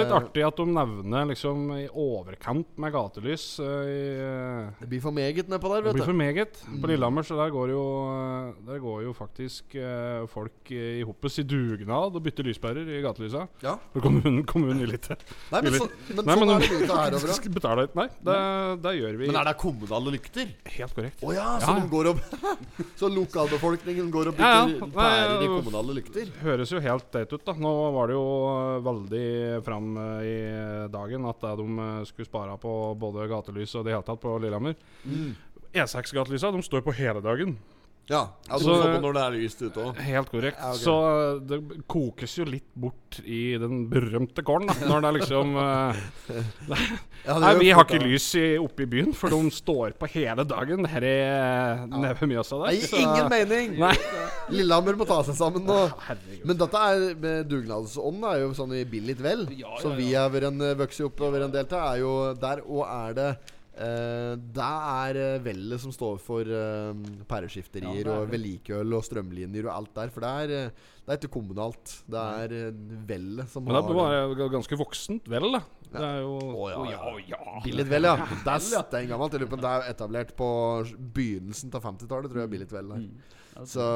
B: litt
A: Eh,
B: artig at de nevner liksom i overkant med gatelys. eh, i, eh,
A: Det blir for meget nedpå der,
B: Det blir
A: vet
B: for
A: du.
B: meget. På Lillehammer så der går jo, eh, der går jo faktisk eh, folk eh, i hoppes i dugnad og bytter lyspærer i gatelysa.
A: Ja.
B: For kommunen, kommunen vil ikke.
A: Nei, men,
B: Vil
A: så, men
B: Nei,
A: sånn
B: men
A: er det ute her over. da.
B: [LAUGHS] Skal betale litt. Nei, det, det gjør vi.
A: Men er det kommunale lykter?
B: Helt korrekt.
A: Å ja, så,
B: Ja, ja.
A: de går opp, [LAUGHS] så lokalbefolkningen går og
B: Ja,
A: bytter
B: ja.
A: pærer i
B: Nei,
A: kommunale lykter?
B: Høres jo helt teit ut, da. Nå var det jo eh, veldig fram eh, i dagen at eh, de eh, skulle spare på både gatelys og det hele tatt på Lillehammer.
A: Mm.
B: E6-gatelysa de står på hele dagen.
A: Ja. ja så,
B: Så-
A: så når det er lyst ute òg.
B: Helt korrekt.
A: Ja, ok.
B: Så eh, det b- kokes jo litt bort i den berømte gården, da, når det er liksom eh,
A: [LAUGHS] Ja, det
B: Nei,
A: gjør
B: vi
A: folk,
B: har ikke
A: da.
B: lys i, oppe i byen, for de står på hele dagen her i eh, nede ved Mjøsa
A: Det
B: der.
A: gir ingen mening!
B: Nei.
A: Lillehammer må ta seg sammen nå.
B: Herregud.
A: Men dette er med dugnadsånden er jo sånn i Billit vel.
C: Ja, ja,
A: Som vi
C: ja.
A: har vært en vokst opp over en del til, er jo der og er det eh, det er eh, vellet som står for eh,
C: Ja,
A: pæreskifterier
C: det er
A: og
C: det.
A: vedlikehold og strømlinjer og alt der. For det er, eh, det er ikke kommunalt. Det er eh, vellet som
B: Men det
A: har
B: er bare g- ganske voksent vel, da. Det er jo
A: Å, ja, ja.
B: Å, ja.
A: Billit vel, ja. Det er steingammelt. Jeg lurer på om Det er etablert på begynnelsen av 50-tallet, tror jeg. Billit vel der.
C: Mm. Ja,
A: Så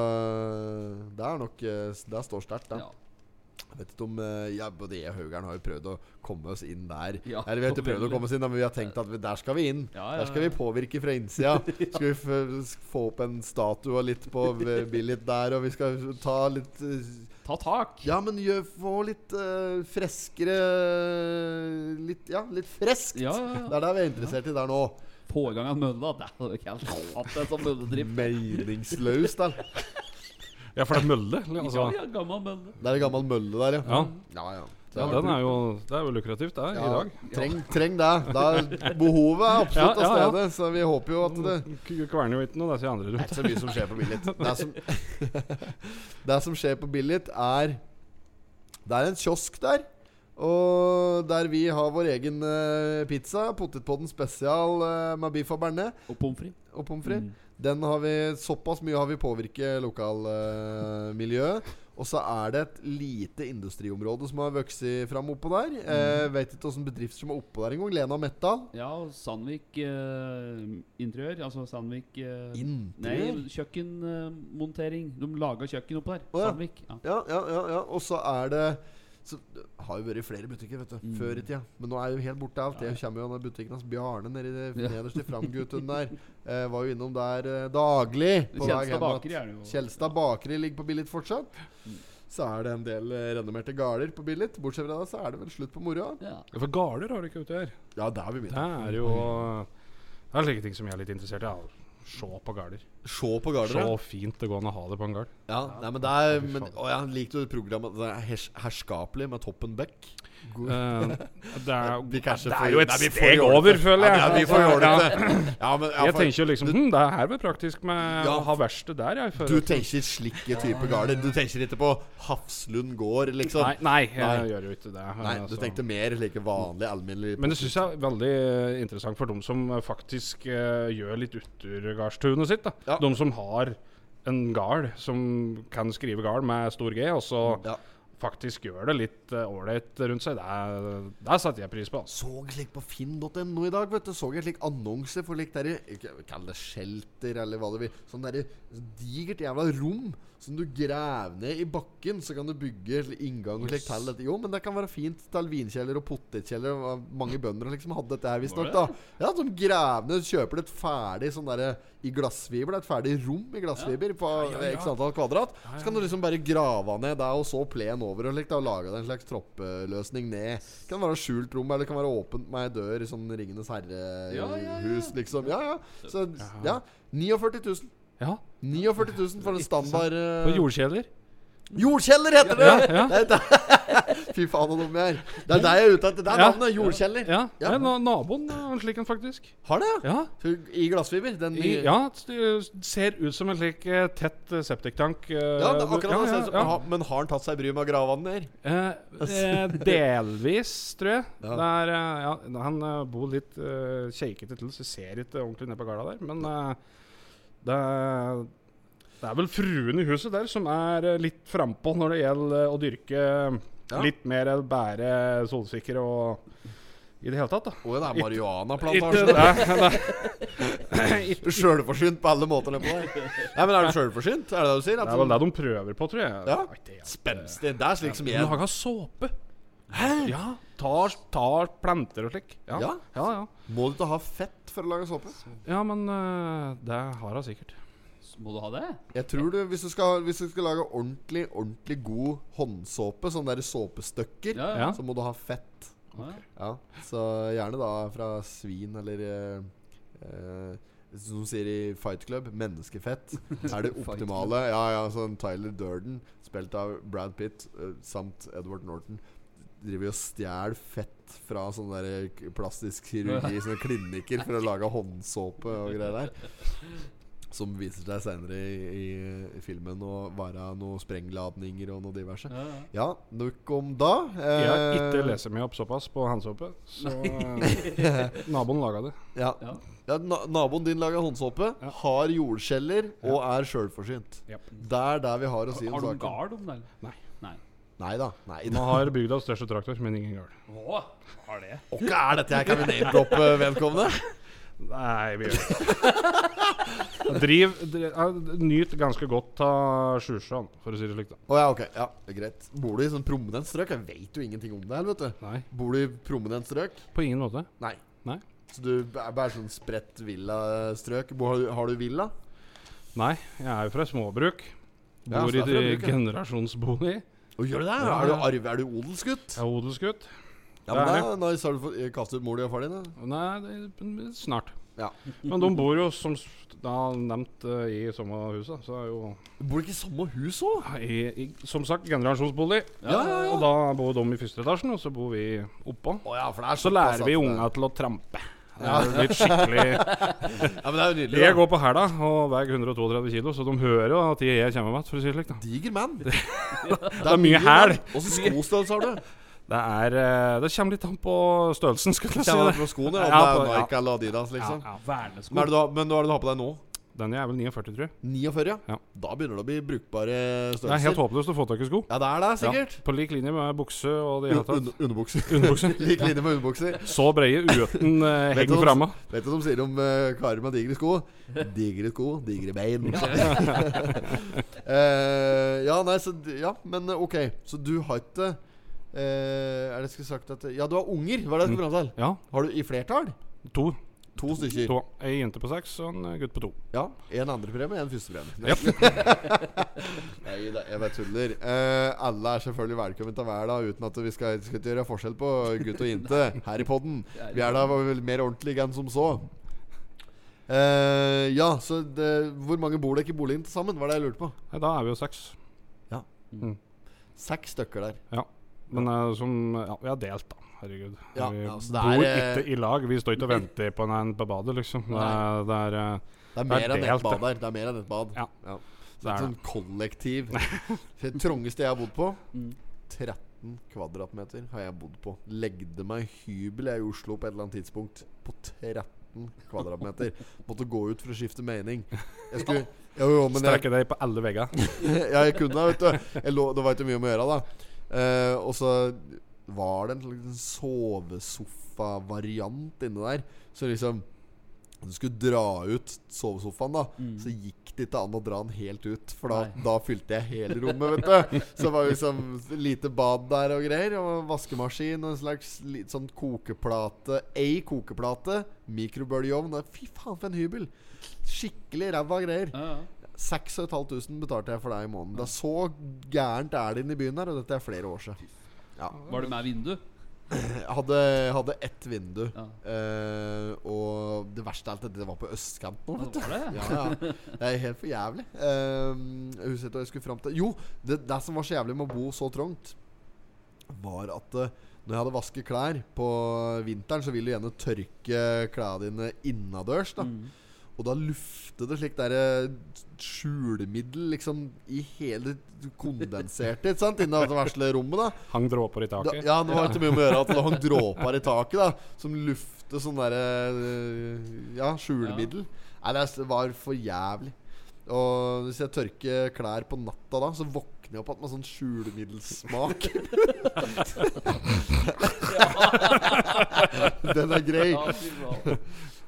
A: det er nok eh, s- Det står sterkt, det.
C: ja.
A: Jeg vet ikke om eh, ja, Både jeg og Haugern har jo prøvd å komme oss inn der.
C: Ja,
A: Eller vi har ikke prøvd å
C: veldig.
A: komme oss inn, da, men vi har tenkt at vi, der skal vi inn.
C: Ja, ja,
A: Der skal vi påvirke fra
C: [LAUGHS]
A: innsida. Skal vi f s- få opp en statue og litt på v- Billit der, og vi skal ta litt eh,
C: Ta tak.
A: Ja, men gjør, få litt eh, freskere Litt Ja, litt freskt.
C: Ja, ja, ja.
A: Det er det vi er interessert i der nå.
C: Få i gang en mølle, da. Det hadde ikke jeg hatt en sånn
A: Mm.
C: mølledrift.
A: Meningsløst, da.
B: ja, for det er mølle. eller,
C: Ja,
B: Altså.
C: ja, gammel mølle.
A: Det er en gammel mølle der, ja.
B: Ja.
A: Ja, ja.
B: ja, den er jo Det er jo lukrativt, det, i dag.
A: Treng, treng det. det er behovet er absolutt
B: Ja, ja, ja.
A: av stedet, så vi håper jo at det
B: K- Kverner jo ikke noe, det sier andre
A: Det
B: rundt.
A: er ikke så mye som skjer på Billit. [LAUGHS] Det, som, det som skjer på Billit, er Det er en kiosk der. Og der vi har vår egen eh, pizza, potetpodden spesial eh, med biff og bearnés
C: Og pommes frites.
A: og pommes frites. Den har vi Såpass mye har vi påvirket lokalmiljøet. og så er det et lite industriområde som har vokst fram oppå der. Eh, vet ikke åssen bedrift som er oppå der engang. Lena Metall.
C: Ja, og Sandvik eh, interiør. Altså Sandvik eh, Nei,
A: Interiør?
C: kjøkkenmontering. De laga kjøkken oppå der.
A: Å, ja.
C: Sandvik. Ja.
A: Ja, ja, ja, ja. Og så er det så det har jo vært flere butikker vet du, før i tida, men nå er jo helt borte alt. Jeg kommer jo av den butikken hans Bjarne nede i det
C: Ja.
A: nederst i Framguttun der. Eh, var jo innom der eh, daglig. på vei
C: Kjelstad
A: hjem at-
C: bakeri er det jo.
A: Kjelstad Bakeri ligger på Billit fortsatt. Så er det en del eh, renommerte gårder på Billit. Bortsett fra det, så er det vel slutt på moroa.
C: Ja.
B: Ja, For garder har du ikke ute her.
A: Ja, der vil vi
B: Det
A: begynne.
B: er jo Det er slike ting som jeg er litt interessert i. Ja. Se på garder.
A: Se på
B: Så
A: Garderø.
B: fint det går an å ha det på en gard.
A: Ja, nei, men det er
B: Fy
A: men,
B: faen.
A: Å ja, likte du programmet Det er hers, Herskapelig med Toppen Beck? [LAUGHS]
B: Eh, det, er,
A: Vi kanskje
B: det
A: får-
B: er jo et
A: Nei, vi får
B: steg
A: gjøre det.
B: over, føler jeg.
A: Ja, vi får gjøre
B: Ja.
A: det. Ja, men, ja,
B: Jeg
A: for,
B: tenker jo liksom hm, Det er herved praktisk med
A: Ja.
B: å ha verkstedet der, jeg.
A: du
B: Før.
A: tenker slike type garder. Du tenker ikke på Hafslund gård, liksom.
B: Nei, nei, jeg
A: Nei.
B: gjør jo ikke det.
A: Nei, du
B: altså.
A: tenkte mer like vanlig, alminnelig
B: Men det syns jeg er veldig eh, interessant for dem som eh, faktisk eh, gjør litt uturgardstunet sitt. da
A: Ja.
B: De som har en gard som kan skrive gard med stor G, og så
A: Ja.
B: faktisk gjør det litt eh, ålreit rundt seg. Det, er- det setter jeg pris på. Altså.
A: Så slik på finn.no i dag, vet du. Så jeg slik annonse for litt der i- ikke- Kall det shelter, eller hva det vil. Sånn derre digert jævla rom som du graver ned i bakken. Så kan du bygge inngang og slikt til dette. Jo, men det kan være fint til vinkjeller og potetkjeller. og Mange bønder liksom hadde dette her, visstnok. da Ja, som graver ned Kjøper et ferdig sånn derre i glassfiber. Det er et ferdig rom i glassfiber på x antall kvadrat. Så kan du liksom bare grave ned det, og så plen over og slikt. da, Og lage deg en slags troppeløsning ned. Det kan være skjult rom, eller det kan være åpent med ei dør i sånn Ringenes herre-hus,
C: Ja, ja, ja.
A: liksom. Ja, ja. Så ja. 49 000.
B: Ja,
A: 49 000 for en standard eh,
B: og jordkjeler.
A: Jordkjeller heter det!
B: Ja, ja.
A: Det [LAUGHS] er der- Fy faen, så dumme jeg er. Det er deg jeg er ute etter. Det er
B: Ja.
A: navnet. Jordkjeller.
B: Ja,
A: Ja.
B: Nei, na- Naboen har en slik en, faktisk.
A: Har det, ja?
B: Ja.
A: Så I glassfiber? Den
B: I, ja, det ser ut som en slik eh, tett eh, septiktank. eh,
A: Ja, det er akkurat
B: ja,
A: det.
B: ja,
A: ser ut som-
B: ja.
A: men har- Men har han tatt seg bryet med å grave han ned?
B: Eh, [LAUGHS] eh, delvis, tror jeg.
A: Ja.
B: Det er, eh, ja, han eh, bor litt eh, keikete til, så jeg ser ikke ordentlig ned på garda der. Men eh, det, er, det er vel fruen i huset der som er eh, litt frampå når det gjelder eh, å dyrke
A: Ja.
B: litt mer eller bære solsikker og i det hele tatt, da.
A: Å, det er [LAUGHS]
B: Ikke
A: marihuanaplantasje.
B: det. [LAUGHS]
A: Sjølforsynt på alle måter. nedpå der. Nei, men Er du sjølforsynt? Er det det du sier? At
B: Det er vel det de prøver på, tror jeg.
A: Ja.
B: Jeg vet ikke, jeg.
A: Spenstig. Det er slik som jeg
B: Laga såpe. Hæ? Ja. Tar, tar planter og slik. Ja.
A: Ja.
B: ja, ja.
A: Må du ikke ha fett for å lage såpe?
B: Ja, men eh, det har hun sikkert.
C: Må du ha det?
A: Jeg tror du, Hvis du skal, hvis du skal lage ordentlig ordentlig god håndsåpe, sånne der såpestykker,
C: Ja,
B: Ja.
A: så må du ha fett.
C: ja.
A: Ja, Så gjerne da fra svin eller eh, eh, Som de sier i Fight Club, menneskefett
B: [LAUGHS]
A: er det
C: Fight
A: optimale. Ja, ja, sånn Tyler Durden, spilt av Brad Pitt eh, samt Edward Norton, driver og stjeler fett fra sånn der k- plastisk
B: [LAUGHS]
A: kirurgi, sånne klinikker, for å lage håndsåpe og greier der. Som viser seg senere i, i filmen å være noen sprengladninger og noe diverse.
C: Ja, ja.
A: Ja, nok om da.
B: Jeg har
A: Eh,
B: ikke lest meg opp såpass på handsåpe, så eh, naboen laga det.
A: Ja.
C: Ja.
A: Ja, na naboen din lager håndsåpe, har jordskjeller og er sjølforsynt.
B: Ja.
A: Det er der vi har å si om
C: Har du
A: saken.
C: en gard om det, eller?
B: Nei.
C: Nei.
A: Nei da. Nei,
B: Nå
A: [LAUGHS]
B: har bygdas største traktor, men ingen gard.
C: Å, har det?
A: Åkke er dette her? Kan vi name-droppe vedkommende?
B: Nei, vi gjør det ikke. Driv, dri- eh, Nyt ganske godt av Sjusjøen, for å si det slik, da.
A: Å ja, ok. Ja, det er greit. Bor du i sånn prominent strøk? Jeg veit jo ingenting om det her, vet du.
B: Nei,
A: Bor du i prominent strøk?
B: på ingen måte.
A: Nei.
B: Nei.
A: Så du er bare sånn spredt villastrøk? Bor- Har, du- har du villa?
B: Nei, jeg er jo fra småbruk.
A: Ja,
B: Bor
A: så det er
B: i
A: fra
B: de
A: bruket.
B: generasjonsbolig.
A: Å, gjør du det?
B: Ja,
A: Er, du
B: ja.
A: arv, er du odelsgutt?
B: Jeg er odelsgutt.
A: Ja, men
B: det er
A: da, da har du fått eh, kastet ut mor di og far din, da.
B: Nei, det, snart.
A: Ja.
B: Men de bor jo, som s- da nevnt, eh, i samme huset, så er jo
A: Bor du ikke i samme hus òg?
B: i, i, Som sagt, generasjonsbolig.
A: Ja, ja, ja.
B: Og da bor de i første etasjen, og så bor vi oppå.
A: Å ja, for det er
B: Så
A: såpass at
B: lærer vi
A: eh, det-
B: unga til å trampe. Det er jo litt [LAUGHS] skikkelig
A: Ja, men det er jo nydelig. da.
B: Jeg går på hæla og veier 132 kilo, så de hører jo at jeg kommer med, for å si det slik. da
A: Diger
B: [LAUGHS]
A: mann. Det
B: er mye hæl.
A: Åssen skostørrelse har du?
B: Det er eh, Det kommer litt an på størrelsen, skulle jeg si.
A: Kjenner du
B: det.
A: på skoene? Om
B: Ja,
A: det
B: på-
A: er
B: ja.
A: Nike eller Adidas, liksom.
B: Ja, ja.
A: Men, er
C: Vernesko.
A: det du har, men hva er det du har på deg nå?
B: Den er vel 49, tror jeg.
A: 49?
B: Ja.
A: Da begynner det å bli brukbare
B: Det er helt
A: størrelser.
B: håpløst å få tak i sko.
A: Ja, det er det, sikkert.
B: Ja, på lik linje med bukse og det hele
A: Un
B: tatt.
A: un underbukser.
B: [LAUGHS] Underbukser.
A: [LAUGHS] Lik linje med underbukser.
B: Så breie uten eh,
A: Vet du
B: heng
A: hva de-
B: framme.
A: Vet du hva de sier om eh, karer med digre sko? Digre sko, digre bein. [LAUGHS] Eh, ja, nei, så d- Ja, men eh, OK. Så du har ikke eh, Er det jeg skulle sagt at Ja, du har unger. Hva er det jeg skulle fram til?
B: Ja,
A: Har du i flertall?
B: to.
A: To stykker.
B: to. Ei jente på seks og en eh, gutt på to.
A: Ja. En andrepremie, en førstepremie.
B: Japp.
A: [LAUGHS] Nei, da, jeg bare tuller. Eh, alle er selvfølgelig velkommen til å være da, uten at vi skal, skal ikke gjøre forskjell på gutt og jente her i podden. Vi er da vel mer ordentlige enn som så. Eh, ja, så det, hvor mange bor dere i boligen til sammen? Var det jeg lurte på?
B: Nei, da er vi jo seks.
A: Seks stykker der.
B: Ja. Men eh, som Ja, vi har delt, da. Herregud.
A: Ja,
B: vi
A: ja, så det
B: bor
A: er, eh,
B: ikke i lag. Vi står ikke og venter på en på badet, liksom. Det er, det er, eh,
A: Det er mer
B: Det er
A: enn
B: delt,
A: ett bad der. Det er mer enn ett bad.
B: Ja.
A: Så det er et sånn [LAUGHS] kollektiv. Det trangeste jeg har bodd på, 13 kvadratmeter har jeg bodd på. Legde meg hybel jeg i Oslo på et eller annet tidspunkt på 13 kvadratmeter. Måtte gå ut for å skifte mening. Jeg [LAUGHS] skulle Jo, jo, men jeg,
B: strekker deg på alle veggene.
A: [LAUGHS] jeg kunne det, vet du. Jeg lå, det var ikke mye om å gjøre, da. Eh, og så var det en slags sovesofa-variant inni der. Så liksom Du skulle dra ut sovesofaen, da. Så gikk det ikke an å dra den helt ut, for da,
C: Nei.
A: da fylte jeg hele rommet, vet du. Så det var liksom lite bad der og greier. Og vaskemaskin og en slags li- sånn kokeplate. Ei kokeplate, mikrobølgeovn. og Fy faen, for en hybel! Skikkelig ræva greier.
C: Ja, ja.
A: 6500 betalte jeg for deg i måneden. Det er så gærent er det inne i byen her, og dette er flere år siden. Ja.
C: Var det med vindu?
A: Jeg hadde, hadde ett vindu,
C: Ja.
A: eh, og det verste av alt dette var på østkanten.
C: Ja,
A: vet du.
C: det var det.
A: Ja, ja. Det er helt for jævlig. Um, huset jeg skulle fram til Jo, det, det som var så jævlig med å bo så trangt, var at eh, når jeg hadde vasket klær på vinteren, så vil du gjerne tørke klærne dine innadørs. da
C: Mm.
A: Og da lufter det slik derre skjulemiddel liksom i hele kondenserte, ikke sant? Inni det versle rommet, da.
B: Hang dråper i
A: Da,
B: taket.
A: ja, det var ikke mye om å gjøre at det hang dråper i taket da som luftet sånn derre øh, Ja, skjulemiddel. Nei, det er- var for jævlig. Og hvis jeg tørker klær på natta da, så våkner jeg opp igjen med sånn skjulemiddelsmak. [LAUGHS] Den er grei.
C: Ja, fy faen.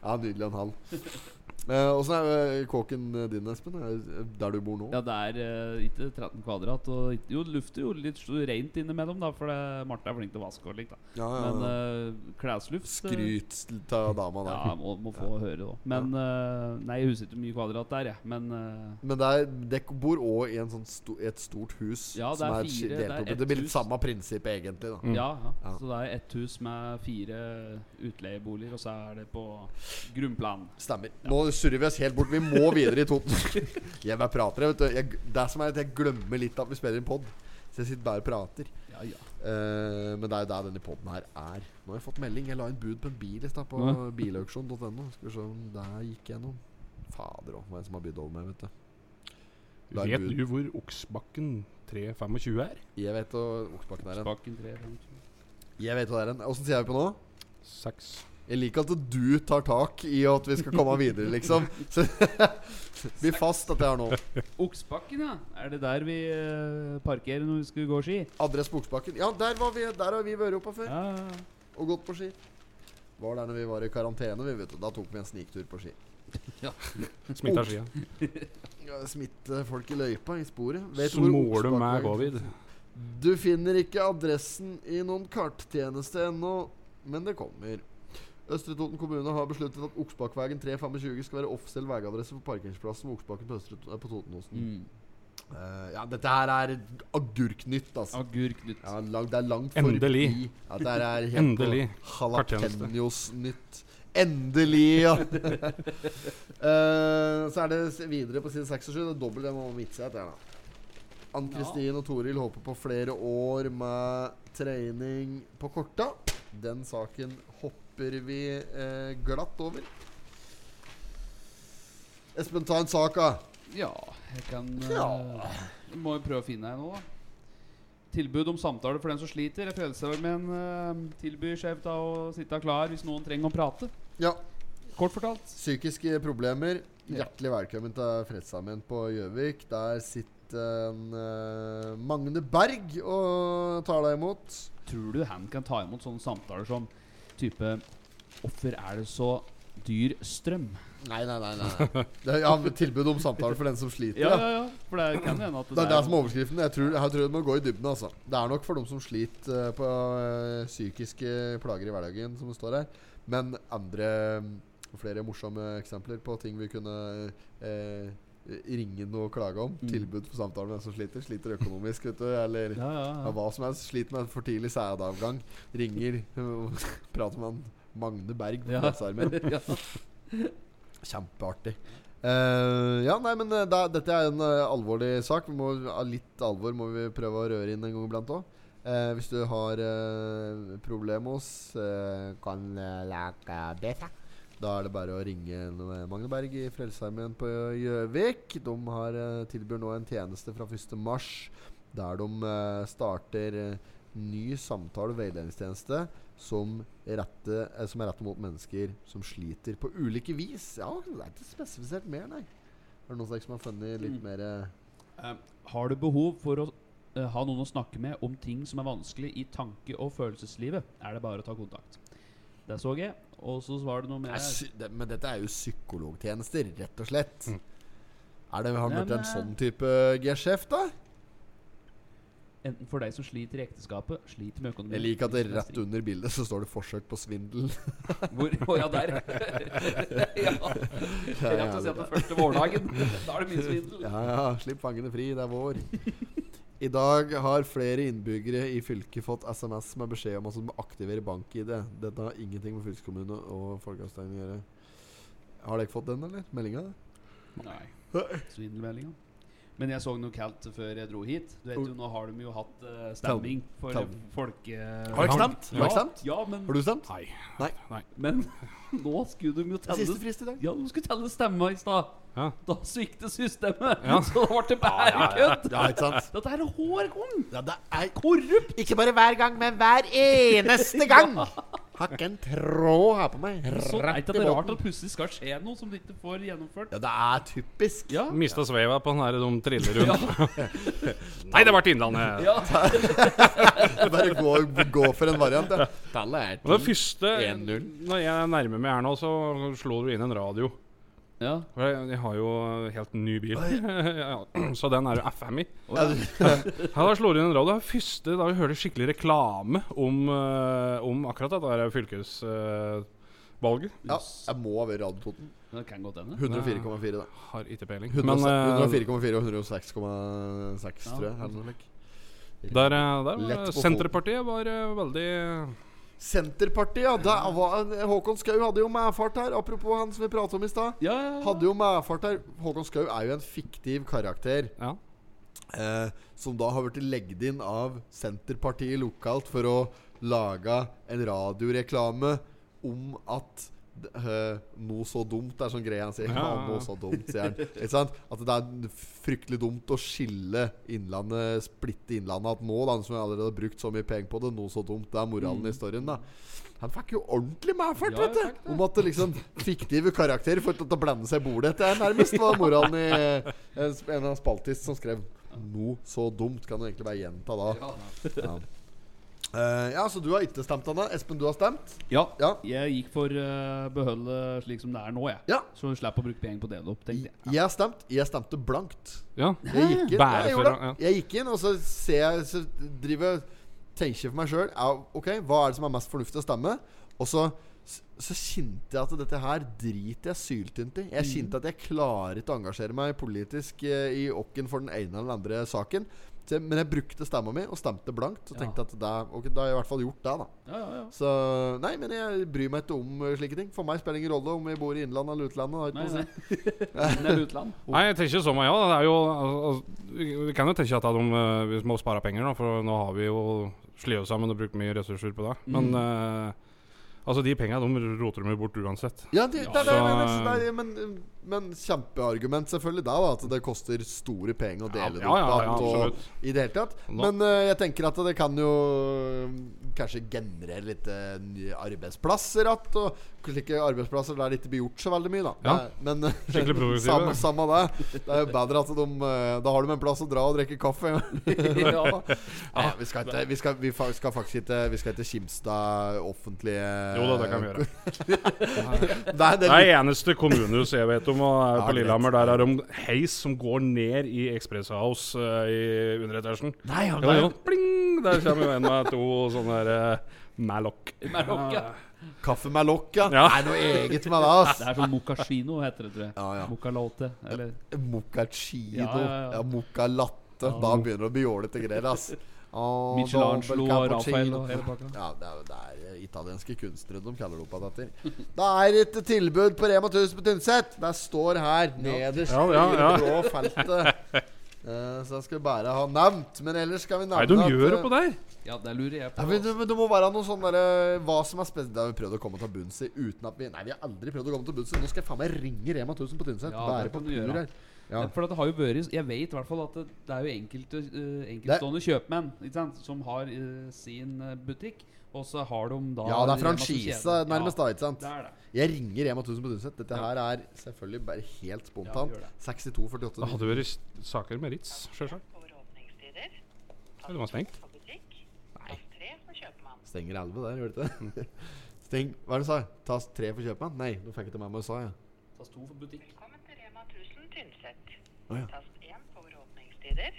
A: Ja, nydelig en halv.
C: [LAUGHS]
A: Åssen er eh, kåken din, Espen? Er det Der du bor nå?
C: ja, det er eh, ikke 13 kvadrat. Og ikke- jo, det lufter jo litt så rent innimellom, da, for det, Marte er flink til å vaske og likt. da
A: Ja, ja,
C: Men
A: ja.
C: eh, klesluft eh,
A: Skryt av dama der.
C: Ja, må, må få høre det òg. Men eh, Nei, jeg husker ikke hvor mye kvadrat der, jeg. Men eh,
A: Men det er, dere bor òg i en sånn sto, et stort hus.
C: Ja, det er
A: som
C: fire,
A: delt
C: det er
A: opp i-
C: ett
A: det blir litt
C: hus. Mm.
A: samme prinsippet, egentlig. da
C: ja, ja.
A: Ja.
C: Så det er ett hus med fire utleieboliger, og så er det på grunnplan.
A: Stemmer. Nå surrer vi oss helt bort. Vi må videre i Toten. [LAUGHS] jeg bare prater, jeg, vet du. Jeg, det er som er at jeg glemmer litt at vi spiller en pod. Så jeg sitter bare og prater.
C: Ja, ja.
A: Eh, men det er jo der denne poden her er. Nå har jeg fått melding. Jeg la inn bud på en bil i stad på
C: Ja.
A: bilauksjon.no. Skal vi se om det her gikk gjennom. Fader òg, hva er det som har bydd over meg, vet du. La inn
B: Vet
A: bud.
B: du hvor Oksbakken 325 er?
A: Jeg vet hva Oksbakken er en.
C: Spaken tre, fem, sju.
A: Jeg vet hva det er en. Åssen sier jeg det på nå?
B: Seks.
A: Jeg liker at du tar tak i at vi skal komme videre, liksom. Så [LAUGHS] Bli fast at jeg har nå.
C: Oksbakken, ja. Er det der vi eh, parkerer når vi skal gå ski?
A: Adress Buksbakken. Ja, der, var vi, der har vi vært oppe før
C: Ja, ja, ja.
A: og gått på ski. Var der når vi var i karantene. Vi vet, du. da tok vi en sniktur på ski.
B: Smitta skia.
A: Ja, Smitte folk i løypa, i sporet. Vet du hvor
B: Småler du
A: Oksbakken
B: med
A: er?
B: covid?
A: Du finner ikke adressen i noen karttjeneste ennå, men det kommer. Østre Toten kommune har besluttet at Oksbakkvegen 325 skal være offisiell veiadresse for parkeringsplassen ved Oksbakken på, Østre- eh, på Totenåsen.
C: Mm.
A: Eh, ja, dette her er agurknytt, altså.
C: Agurknytt.
A: Ja, lang, det er langt
B: Endelig.
A: forbi. Ja, det her er helt
B: Endelig.
A: Jalapeños-nytt. Endelig,
B: [LAUGHS]
A: ja! Eh, så er det s- videre på side 6 og 7. Det er dobbelt det må vitse etter her, da. Ann Kristin og Toril håper på flere år med trening på korta. Den saken hopper vi eh, glatt over. Espen, ta en sak, da.
C: Ja, jeg kan
A: Ja.
C: eh, Må jo prøve å finne en nå, da. Tilbud om samtale for den som sliter. Frelsesarmeen uh, tilbyr skjevt av å sitte klar hvis noen trenger å prate.
A: Ja.
C: Kort fortalt.
A: Psykiske problemer.
C: Ja.
A: Hjertelig velkommen til Fredsarmeen på Gjøvik. Der sitter en, eh, Magne Berg og tar deg imot.
C: Tror du han kan ta imot sånne samtaler som type Hvorfor er det så dyr strøm?
A: Nei, nei, nei. nei. nei. [LAUGHS] Det er, ja, tilbud om samtale for den som sliter.
C: Ja,
A: Ja,
C: ja, ja. For det kan hende at
A: Det er det som er overskriften. Jeg tror, jeg tror det må gå i dybden. altså Det er nok for dem som sliter eh, på eh, psykiske plager i hverdagen, som det står her. Men andre mm, flere morsomme eksempler på ting vi kunne eh, ringe noe og klage om.
C: Mm.
A: Tilbud for samtale med den som sliter. Sliter økonomisk, vet du. Eller
C: Ja, ja,
A: Ja,
C: ja.
A: hva som helst. Sliter med for tidlig sædavgang. [LAUGHS]
C: [LAUGHS]
A: Ringer, prater med han Magne Berg.
C: Ja.
A: Ja.
C: ja.
A: Kjempeartig. Eh, ja, nei, men eh, da, dette er en eh, alvorlig sak. Vi må, av litt alvor må vi prøve å røre inn en gang iblant òg. hvis du har uh, problemos, eh, kan eh, lage det. Da er det bare å ringe noe- Magne Berg i Frelsesarmeen på Gjøvik. De har, eh, tilbyr nå en tjeneste fra 1. mars der de eh, starter eh, ny samtale- og veiledningstjeneste som, rette, eh, som er rettet mot mennesker som sliter på ulike vis. Ja, det er ikke spesifisert mer, nei. Er det noen som har funnet litt
C: Mm.
A: mer eh,
C: Har du behov for å eh, ha noen å snakke med om ting som er vanskelig i tanke- og følelseslivet, er det bare å ta kontakt. Det så jeg. Og så var det noe med
A: nei, sy- det, Men dette er jo psykologtjenester, rett og slett. Er det, har han
C: Nei,
A: blitt en
C: men- eh,
A: sånn type G-sjef, da?
C: Enten for deg som sliter i ekteskapet, sliter med økonomien
A: Jeg liker at det rett under bildet så står det 'forsøk på svindel'.
C: [LAUGHS] Hvor, å, ja, der. [LAUGHS] ja. Rett og slett den første vårdagen.
A: [LAUGHS]
C: Da er det mye svindel.
A: Ja, ja, slipp fangene fri, det er vår. I dag har flere innbyggere i fylket fått SMS med beskjed om at de må aktivere bank-ID. Dette har ingenting med fylkeskommune og folkeavstemning å gjøre. Har dere fått den, eller? Meldinga?
C: Nei. Svindelmeldinga. Men jeg så noe kaldt før jeg dro hit. Du vet jo, Nå har de jo hatt eh, stemming for
A: Tal-
C: eh, folke...
B: Har dere stemt?
A: Har dere
C: Ja,
A: stemt?
C: ja, men,
A: Har du stemt?
B: Nei.
C: men [LAUGHS] nå skulle de jo telle
A: Siste frist i dag.
C: Ja, de skulle telle stemma i stad.
B: Ja.
C: Da svikter systemet,
B: Ja.
C: [LAUGHS] så det ble bare kødd.
A: Ja, ikke sant?
C: Dette er hårkong.
A: Ja, det er korrupt! Ikke bare hver gang, men hver [LAUGHS] eneste gang! Har ikke en tråd her på meg.
C: Så er
A: Rett
C: ikke
A: i
C: det rart
A: båten.
C: at plutselig skal skje noe som de ikke får gjennomført.
A: Ja, det er typisk.
C: Ja.
B: Mista sveiva på den her de triller rundt.
C: Ja.
A: [LAUGHS]
B: Nei, det ble Innlandet!
C: ja.
A: Bare gå, gå for en variant, ja. Tallet
B: Og det første
A: 1-0.
B: Når jeg nærmer meg her nå, så slår du inn en radio.
C: ja.
B: For Jeg, jeg har jo helt ny bil, [LAUGHS] Ja, så den er jo FM i. Ja, da slår du inn en radio. Det er første da vi hører skikkelig reklame om, eh, om akkurat dette her fylkesvalget.
A: Ja, jeg må være Radiototen.
C: Det kan godt hende.
A: 104,4, da.
B: Har ikke peiling.
A: 100
B: Men eh,
A: 104,4 og 106,6, tror jeg.
C: Ja.
A: eller noe slik.
B: der, eh, der var
A: Lett på foten.
B: Senterpartiet var eh, veldig
A: Senterpartiet, ja. Det var, Håkon Skau hadde jo medfart her. Apropos han som vi pratet om i stad.
C: Ja, ja, ja.
A: Hadde jo medfart her. Håkon Skau er jo en fiktiv karakter.
B: Ja.
A: eh, som da har blitt legget inn av Senterpartiet lokalt for å lage en radioreklame om at d- eh, noe så dumt er sånn greie han sier. Ja,
B: Ja, ja, ja.
A: noe så dumt, sier han. Ikke sant? At det er fryktelig dumt å skille Innlandet, splitte Innlandet. At nå, da, som jeg allerede har brukt så mye penger på det, noe så dumt. Det er moralen i historien, da. Han fikk jo ordentlig medfart,
C: Ja, jeg
A: vet du! Om at det liksom fiktive karakterer får til å blande seg i bordet. Det er nærmest var moralen i eh, en sp- en av spaltist som skrev Noe så dumt kan du egentlig bare gjenta da. Ja, Eh, ja så du har ikke stemt, Anna. Espen, du har stemt?
C: Ja.
A: Ja.
C: Jeg gikk for uh, beholde slik som det er nå, jeg.
A: Ja.
C: Så jeg slapp å bruke penger på det opp, tenkte jeg.
A: Jeg har stemt. Jeg stemte blankt.
B: Ja.
A: Jeg gikk inn,
B: Bare
A: jeg, gjorde
B: for å- ja.
A: det. jeg gikk inn og så ser jeg Så driver jeg tenker for meg sjøl ja, Ok, hva er det som er mest fornuftig å stemme? Og så så kjente jeg at dette her driter jeg syltynt i. Jeg kjente at jeg klarer ikke å engasjere meg politisk eh, i åkken for den ene eller den andre saken. Så, jeg- men jeg brukte stemma mi og stemte blankt. Og
C: Ja.
A: tenkte at det, er- ok, da har jeg i hvert fall gjort det, da.
C: Ja, ja, ja.
A: Så nei, men jeg bryr meg ikke om eh, slike ting. For meg spiller det ingen rolle om vi bor i innlandet eller utlandet. det har ikke
C: Nei,
A: noe å si.
C: nei. Men det er utland.
B: Nei, jeg tenker som meg, ja. Det er jo altså, Vi vi kan jo tenke at de, eh, vi må spare penger, da, for nå har vi jo slitt oss sammen og brukt mye ressurser på det.
A: Mm.
B: Men eh, altså, de penga roter de jo bort uansett.
A: Ja, det, det,
B: Ja,
A: er det, jeg
B: så-
A: mener, så det, er- men, men kjempeargument selvfølgelig der, da. At det koster store penger å dele
B: Ja, ja, ja,
A: det
B: ja,
A: opp.
B: absolutt.
A: og, I det hele tatt.
B: Nå-
A: Men eh, jeg tenker at det kan jo mm, kanskje generere litt eh, nye arbeidsplasser att. Og slike arbeidsplasser der det ikke blir gjort så veldig mye, da.
B: Ja.
A: Det er- Men eh,
B: Skikkelig
A: [LAUGHS]
B: produktive.
A: samme, samme det. Det er jo bedre at de eh, Da har de en plass å dra og drikke kaffe. [LAUGHS]
C: Ja.
A: Nei, vi skal ikke Vi skal, vi fa skal faktisk ikke Vi skal ikke kimse av offentlige
B: Jo da, det kan vi gjøre.
A: [LAUGHS] Nei, det
B: Det
A: er
B: er eneste kommunehus jeg vet om og er
A: Ja,
B: på
A: greit.
B: Lillehammer. Der er det heis som går ned i Express House eh, i underetasjen.
A: Nei, ja,
B: Jo, jo. Pling! Der kommer jo en med to sånne der uh, Malloc.
C: Marokko.
A: Kaffe med lokk, ja.
B: Ja.
A: Det er noe eget med det, ass.
C: [LAUGHS] Det er sånn mokasjino heter det, tror jeg.
A: Ja, ja.
C: Mokalote. Eller
A: Moccacino. Ja,
C: Ja, ja, ja.
A: moccalatte. Da begynner det å bli jålete greier, ass. Ja, Oh,
C: Michelangelo
A: dobbel
C: og
A: cappuccino.
C: Raphael og hele pakka.
A: Ja, det er, det er italienske kunstnere de kaller det opp av dette. Da er det ikke tilbud på Rema 1000 på Tynset. Det står her nederst
B: Ja, ja,
A: i
B: ja.
A: det blå feltet. Eh, så jeg skal bare ha nevnt. Men ellers skal vi nevne
B: Nei, de
A: at,
B: gjør
A: eh,
B: det på der.
C: Ja, det lurer jeg
A: ja,
C: på.
A: men det, men det må være noe sånn derre Hva som er spesielt Det har vi prøvd å komme til bunns i uten at vi Nei, vi har aldri prøvd å komme til bunns i. Nå skal jeg faen meg ringe Rema 1000 på Tynset.
C: Ja,
A: Være
C: det
A: på
C: kan du
A: tur
C: gjøre.
A: her. Ja.
C: For at det har jo vært Jeg vet i hvert fall at det, det er jo enkelte eh, enkeltstående kjøpmenn ikke sant, som har eh, sin eh, butikk, og så har de da
A: ja, det er
C: Rema som
A: franchise
C: kjede.
A: nærmest, da. Ikke
C: Ja,
A: sant?
C: det er det.
A: Jeg ringer Rema 1000 på Tynset. Dette
C: Ja.
A: her er selvfølgelig bare helt
C: Ja,
A: spontant.
C: gjør det.
A: 62 48
B: Det hadde vært s- saker med Ritz, sjølsagt.
E: over åpningstider.
B: Ja, det var stengt.
E: På butikk. Tast tre for kjøpmann.
A: Stenger 11 der, gjør det ikke det? [LAUGHS] Steng Hva er det du sa? Tas tre for kjøpmann? Nei, nå fikk jeg til meg med USA, ja.
C: Tas to for butikk.
E: Velkommen til Rema 1000 Tynset.
A: Å, ja.
E: Tast én for åpningstider.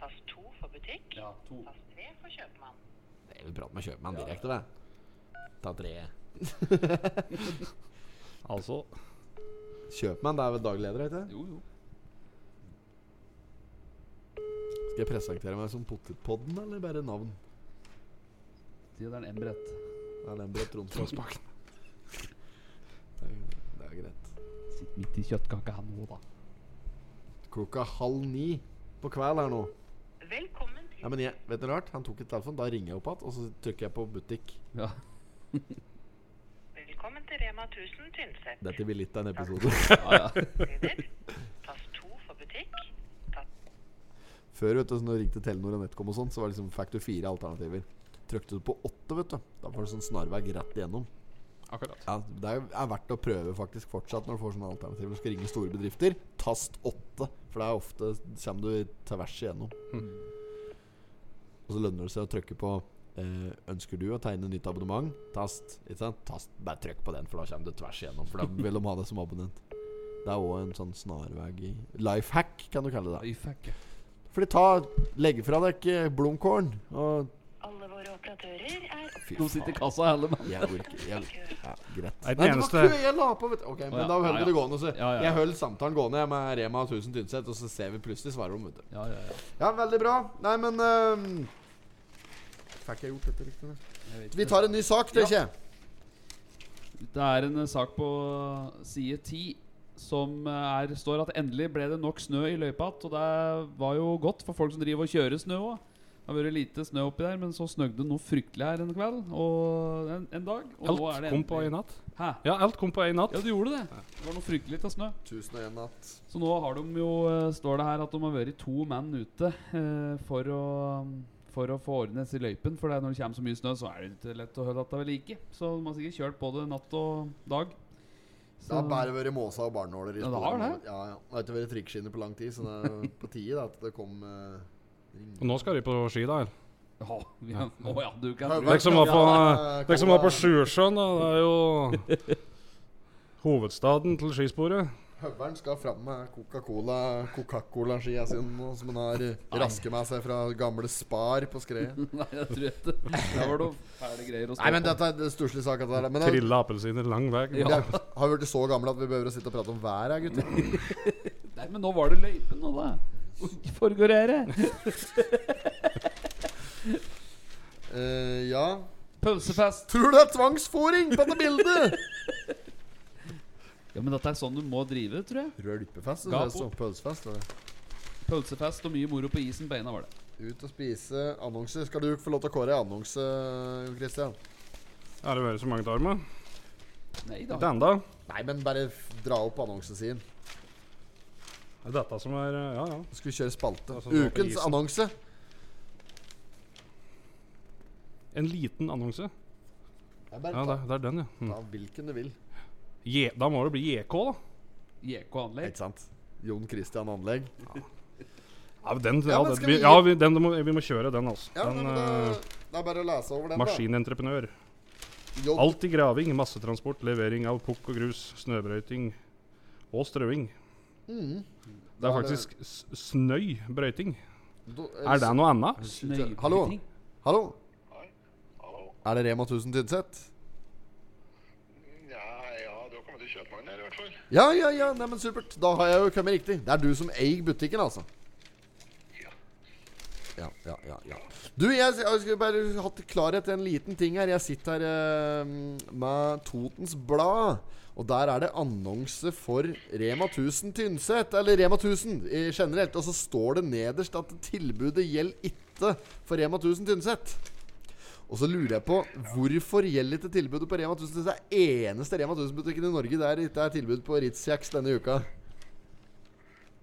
E: Tast to for butikk.
C: Ja, to.
E: Tast tre for kjøpmann.
A: Nei, vi prater med kjøpmann direkte, da. Ta tre.
B: Altså
A: Kjøpmann, det er vel daglig leder, ikke det?
C: Jo, jo.
A: Skal jeg presentere meg som Potetpodden, eller bare navn?
C: Det er en M-brett.
A: Det er den brød Tromsø.
B: Tronsbakken.
A: Det er- det er greit.
C: Sitter midt i kjøttkaka her nå, da.
A: Klokka halv ni på kveld her nå.
E: Velkommen til
A: Ja, men jeg, vet du rart? Han tok et telefon, da ringer jeg opp igjen, og så trykker jeg på butikk.
C: Ja.
E: Velkommen til Rema 1000 Tynset.
A: Dette blir litt av en episode. [LAUGHS]
E: Åpningstider. Tast to for butikk. Tast
A: Før vet du, så når du ringte Telenor og Netcom og sånn, så var det liksom, fikk du fire alternativer. Trykte du på åtte, vet du, da var det sånn snarvei rett igjennom.
B: Akkurat.
A: Ja, det er, er verdt å prøve faktisk fortsatt når du får sånne alternativer. Du skal ringe store bedrifter. Tast åtte, for det er ofte kommer du tvers igjennom. Og så lønner det seg å trykke på eh, Ønsker du å tegne nytt abonnement? Tast. Ikke sant? Tast. Bare trykk på den, for da kommer du tvers igjennom. For da vil de ha deg som abonnent. Det er òg en sånn snarvei i Life hack, kan du kalle det.
C: Oi, fuck.
A: Fordi ta Legg fra deg eh, blomkålen og
E: alle våre operatører er
A: Fy
C: De sitter i kassa, hele mann.
A: Jeg orker jeg, ja, Greit.
B: Nei,
A: Nei,
B: det
A: det
B: eneste-
A: var ikke jeg la på, vet du. Ok, men
C: ja.
A: da holder
C: Ja,
A: vi det gående. Så
C: Ja, ja, ja.
A: Jeg holder samtalen gående jeg, med Rema 1000 Tynset, og så ser vi plutselig svarer de, vet du.
C: Ja, ja, ja.
A: Ja, veldig bra. Nei, men ehm, Fikk jeg gjort dette riktig? da?
C: Jeg vet
A: Vi
C: det.
A: tar en ny sak, det, ikke?
C: Det er en eh, sak på side 10 som eh, er, står at endelig ble det nok snø i løypa igjen. Og det var jo godt for folk som driver og kjører snø òg. Det har vært lite snø oppi der, men så snøgde det noe fryktelig her en kveld. Og en, en dag. Og nå er
B: Alt
C: det
B: kom på
C: endelig-
B: én natt.
C: Hæ?
B: Ja, alt kom på én natt.
C: Ja, du gjorde det. Det var noe fryktelig av snø.
A: Tusen og en natt.
C: Så nå har de jo, eh, står det her at de har vært to menn ute eh, for, å, for å få ordnes i løypen. For det er når det kommer så mye snø, så er det ikke lett å holde dette ved like. Så de har sikkert kjørt både natt og dag.
A: Det har bare vært måsa og barnåler i
C: Ja, det har
A: sporene.
C: det.
A: Ja, ja. Det har ikke vært trikkskinner på lang tid, så det er på tide da, at det kom eh, ring.
B: Og nå skal de på ski, da. eller?
C: Å ja. å ja, du kan
A: Ja,
B: Dere
C: tro
A: det-
C: det.
B: som var på,
A: Ja,
B: dere som var på Sjusjøen, da. Det er jo hovedstaden til skisporet.
A: Høveren skal fram med Coca-Cola Coca-Cola-skia sine, nå, som han har eh, raske med seg fra gamle Spar på skredet.
C: [LAUGHS] Nei, jeg tror ikke det. Der var det fæle greier å stå
A: Nei, men
C: på.
A: dette er en stusslig sak. dette her, Men det,
B: Trilla appelsiner lang vei.
C: Ja.
A: det er- har [LAUGHS] vi blitt så gamle at vi behøver å sitte og prate om været, gutter?
C: Nei, men nå var det løypen nå, da. Ikke foregår det her.
A: Eh, ja
C: Pølsefest.
A: Tror du det er tvangsfòring på dette
B: [LAUGHS]
A: bildet?
C: Ja, men dette er sånn du må drive, tror jeg.
A: Rølpefest.
C: Gapo.
A: det er sånn Pølsefest. det er.
C: Pølsefest og mye moro på isen beina var det.
A: Ut og spise. Annonse. Skal du få lov til å kåre en annonse, Jon Christian?
B: Er det vært så mange tarmer?
C: Nei da.
B: Ikke enda.
A: Nei, men bare f- dra opp annonsen sin.
B: Det er dette som er eh, Ja, ja.
A: Nå skal vi kjøre spalte.
B: Altså, nå på
A: Ukens
B: isen.
A: annonse.
B: En liten annonse.
A: Det er bare
B: Ja, det,
A: ta,
B: det er den, ja. Mm.
A: ta hvilken du vil.
B: Je, da må det bli JK, da.
C: JK
A: Ikke
C: Anlegg.
A: sant? Jon Christian Anlegg.
B: Ja, men den, ja,
A: Ja, men
B: den,
A: skal
B: vi,
A: vi-
B: ja vi, den må, vi må kjøre den, altså.
A: Ja, nei,
B: den,
A: men det,
B: eh,
A: det er bare å lese over den, da.
B: maskinentreprenør.
A: Jon-
B: Alt i graving, massetransport, levering av pukk og grus, snøbrøyting og strøing. Det
A: Da
B: er
A: er
B: faktisk s- snøybrøyting.
A: Do-
B: Er det noe annet?
C: Snøyting.
A: Hallo? Hallo? Er det Rema 1000 Tynset?
F: Ja, ja, du har kommet til kjøpmannen her i hvert fall.
A: Ja, ja, ja. Nei, men supert. Da har jeg jo kommet riktig. Det er du som eier butikken, altså.
F: Ja.
A: ja, ja, ja, ja. Du, jeg, s- jeg skulle bare hatt klarhet i en liten ting her. Jeg sitter her eh, med Totens Blad. Og der er det annonse for Rema 1000 Tynset. Eller Rema 1000 i generelt. Og så står det nederst at tilbudet gjelder ikke for Rema 1000 Tynset. Og så lurer jeg på hvorfor gjelder ikke tilbudet på Rema 1000? Det er eneste Rema 1000-butikken i Norge der det ikke er tilbud på Ritz-kjeks denne uka.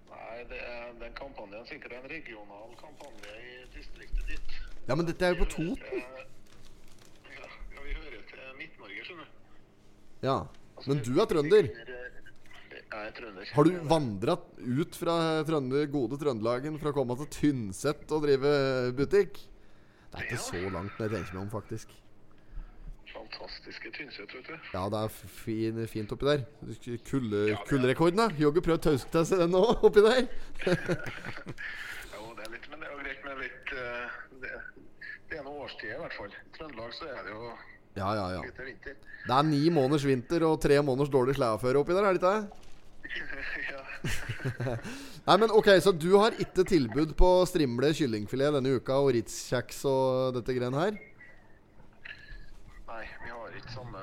F: Nei, det er, den kampanjen er sikkert en regional kampanje i distriktet ditt.
A: Ja, men dette er jo på
F: Vi hører
A: Toten.
F: til- Ja, ja, vi hører til Midt-Norge, skjønner du. Altså,
A: Ja. Men du er trønder.
F: eh, Jeg er trønder.
A: Har du vandra ut fra trønder, gode Trøndelagen for å komme til Tynset og drive butikk? Det er ikke så langt når jeg tenker meg om, faktisk.
F: Fantastiske Tynset, vet du.
A: Ja, det er fin, fint oppi der. Kulde, kulderekorden, da. Jogge prøvd tauske til seg den nå, oppi der.
F: Jo, det er litt, men det er jo greit med litt eh, det, det er noen årstider, i hvert fall. I Trøndelag så er det jo
A: Ja, ja, ja.
F: litt vinter. [LAUGHS]
A: Det er ni måneders vinter og tre måneders dårlig sleaføre oppi der, er det ikke det?
F: ja.
A: [LAUGHS] Nei, men ok, så du har ikke tilbud på strimle kyllingfilet denne uka og Ritz-kjeks og dette greiene her?
F: Nei, vi har ikke samme